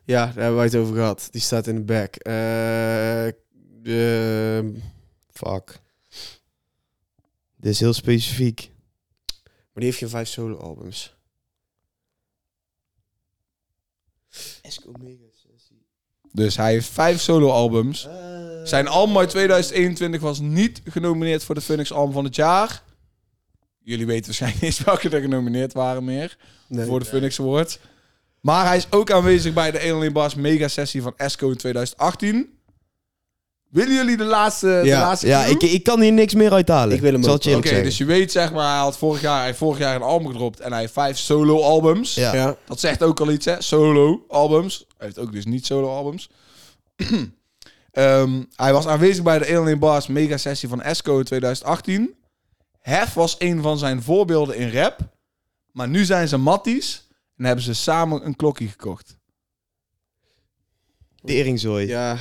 Ja, daar hebben wij het over gehad. Die staat in de back. Eh, eh,
Fuck. Dit is heel specifiek.
Maar die heeft geen vijf solo-albums.
Esco
Dus hij heeft vijf soloalbums. Zijn album uit 2021 was niet genomineerd voor de Phoenix Album van het jaar. Jullie weten waarschijnlijk niet eens welke er genomineerd waren meer.
Nee.
voor de Phoenix Award. Maar hij is ook aanwezig bij de 101 Bars mega sessie van Esco in 2018. Willen jullie de laatste, de
Ja,
laatste
Ja,
cue?
ik, ik kan hier niks meer uithalen.
Ik wil hem
Zal
ook.
het je eerlijk
Oké,
zeggen.
dus je weet zeg maar, hij had vorig jaar, hij heeft vorig jaar een album gedropt en hij heeft vijf solo albums.
Ja.
Ja.
Dat zegt ook al iets, hè? Solo albums. Hij heeft ook dus niet solo albums. Ehm, hij was aanwezig bij de 101 Bars mega sessie van Esco in 2018. Hef was een van zijn voorbeelden in rap. Maar nu zijn ze matties en hebben ze samen een klokkie gekocht.
Teringzooi.
Ja,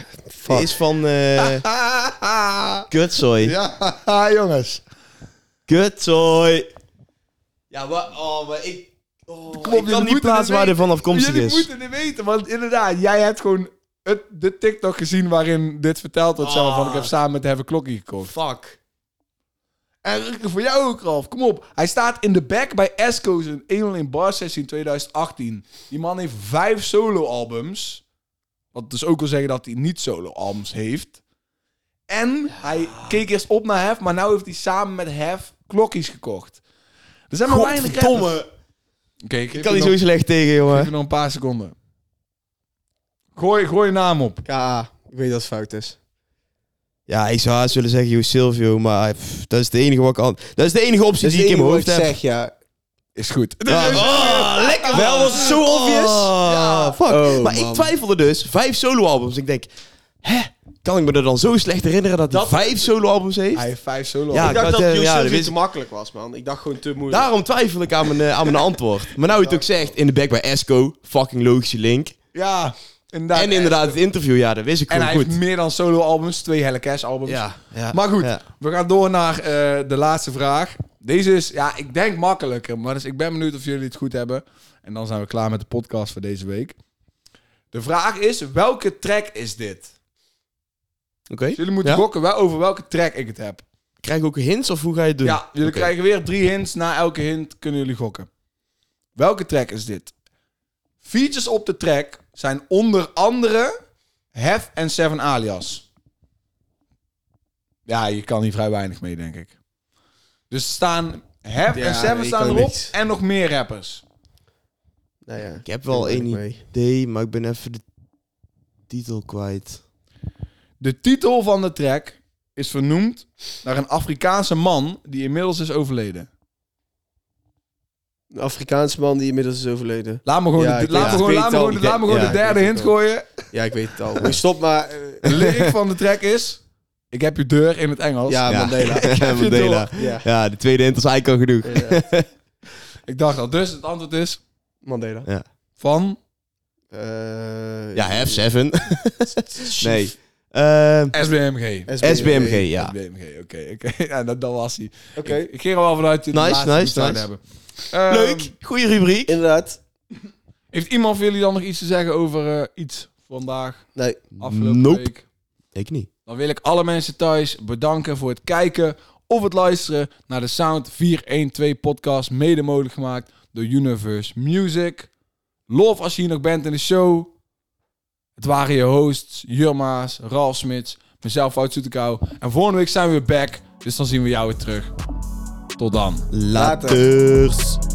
Die is van... eh kutzooi.
Ja, jongens.
Kutzooi. Ja, maar... Oh, maar ik... Oh, ik kan niet plaatsen waar hij van afkomstig
jullie
is.
moeten dit weten, want inderdaad, jij hebt gewoon het, de TikTok gezien waarin dit verteld wordt. Zelf, van ik
Ah.
heb samen met Hef een klokkie gekocht.
Fuck.
En Rutger, voor jou ook, Ralf. Kom op. Hij staat in de back bij Esco's in 101 Bar Sessie in 2018. Die man heeft vijf solo-albums. Wat dus ook wil zeggen dat hij niet solo-albums heeft. En hij keek eerst op naar Hef, maar nu heeft hij samen met Hef klokjes gekocht. Er zijn maar weinig rappers. Oké, ik,
Ik
geef
kan
je
niet
nog,
zo slecht tegen,
geef je
jongen.
nog een paar seconden. Gooi, gooi je naam op.
K.A. Ik weet dat het fout is.
Ja, ik zou haast willen zeggen, yo Silvio, maar pff, dat is de enige wat ik kan. Dat is de enige optie
Dus
die ik in mijn hoofd heb.
zeg, ja.
Is goed. Oh.
Ja. Ah. Oh, lekker
Wel, was het zo obvious?
Ja, fuck.
Oh,
maar
man.
ik twijfelde dus. Vijf soloalbums. Ik denk, hè? Kan ik me er dan zo slecht herinneren dat hij
Dat-
vijf soloalbums heeft?
Hij heeft vijf solo-albums.
Ja,
Ik dacht
had,
dat
eh,
Joost
ja,
ja,
dat wist
te
ik.
makkelijk was, man. Ik dacht gewoon te moeilijk.
Daarom twijfel ik aan mijn, eh, aan mijn antwoord. Maar nou je het ook zegt, in de back bij Esco, fucking logische link.
Ja, inderdaad.
En inderdaad het interview, ja, dat wist ik
En
gewoon
hij
goed.
heeft meer dan solo-albums, twee Helle Cash albums
Ja, ja,
Maar goed,
ja.
we gaan door naar eh, de laatste vraag. Deze is, ja, ik denk makkelijker, maar dus ik ben benieuwd of jullie het goed hebben. En dan zijn we klaar met de podcast voor deze week. De vraag is, welke track is dit?
Oké.
Dus jullie moeten
Ja?
gokken wel over welke track ik het heb.
Krijg ik ook hints of hoe ga je het doen?
Ja, jullie
Oké.
krijgen weer drie hints. Na elke hint kunnen jullie gokken. Welke track is dit? Features op de track zijn onder andere Hef en Seven Alias. Ja, je kan hier vrij weinig mee, denk ik. Dus er staan Hef
Ja,
en Seven
ik
staan
ook
erop
niet.
en nog meer rappers.
Nou ja.
Ik heb wel
Ik ben
één
er mee.
idee, maar ik ben even de titel kwijt.
De titel van de track is vernoemd naar een Afrikaanse man die inmiddels is overleden.
Een Afrikaanse man die inmiddels is overleden.
Laat me gewoon
Ja,
de-
ik-
laat me
ja,
gewoon-
ik
laat me
weet het al.
gewoon de- laat me
Ik-
gewoon de
ja, ik
derde
weet het
hint
al.
gooien.
Ja, ik weet het al. Maar Stop maar. eh,
De lyric van de track is... Ik heb je deur in het Engels.
ja, Mandela.
Mandela.
Ja.
Ja, de tweede hint was eigenlijk al genoeg.
Ik dacht al. Dus het antwoord is
Mandela.
van
Eh,
Ja, Hef 7. nee. Ehm,
SBMG.
SBMG, ja.
SBMG, oké. oké. Ja, dat, dat was hij.
Oké.
Ik, ik ging er wel vanuit dat je de
Nice,
laatste
nice,
goed zouden
nice.
hebben. Ehm,
Leuk, goede rubriek.
Inderdaad.
Heeft iemand van jullie dan nog iets te zeggen over eh, iets vandaag,
Nee.
afgelopen
Nope.
week?
Ik niet.
Dan wil ik alle mensen thuis bedanken voor het kijken of het luisteren naar de Sound 412 podcast, mede mogelijk gemaakt door Universe Music. Love als je hier nog bent in de show. Het waren je hosts, Jurma's, Ralf Smits, mezelf, Wout Soetekou. En volgende week zijn we weer back, dus dan zien we jou weer terug. Tot dan.
Laters.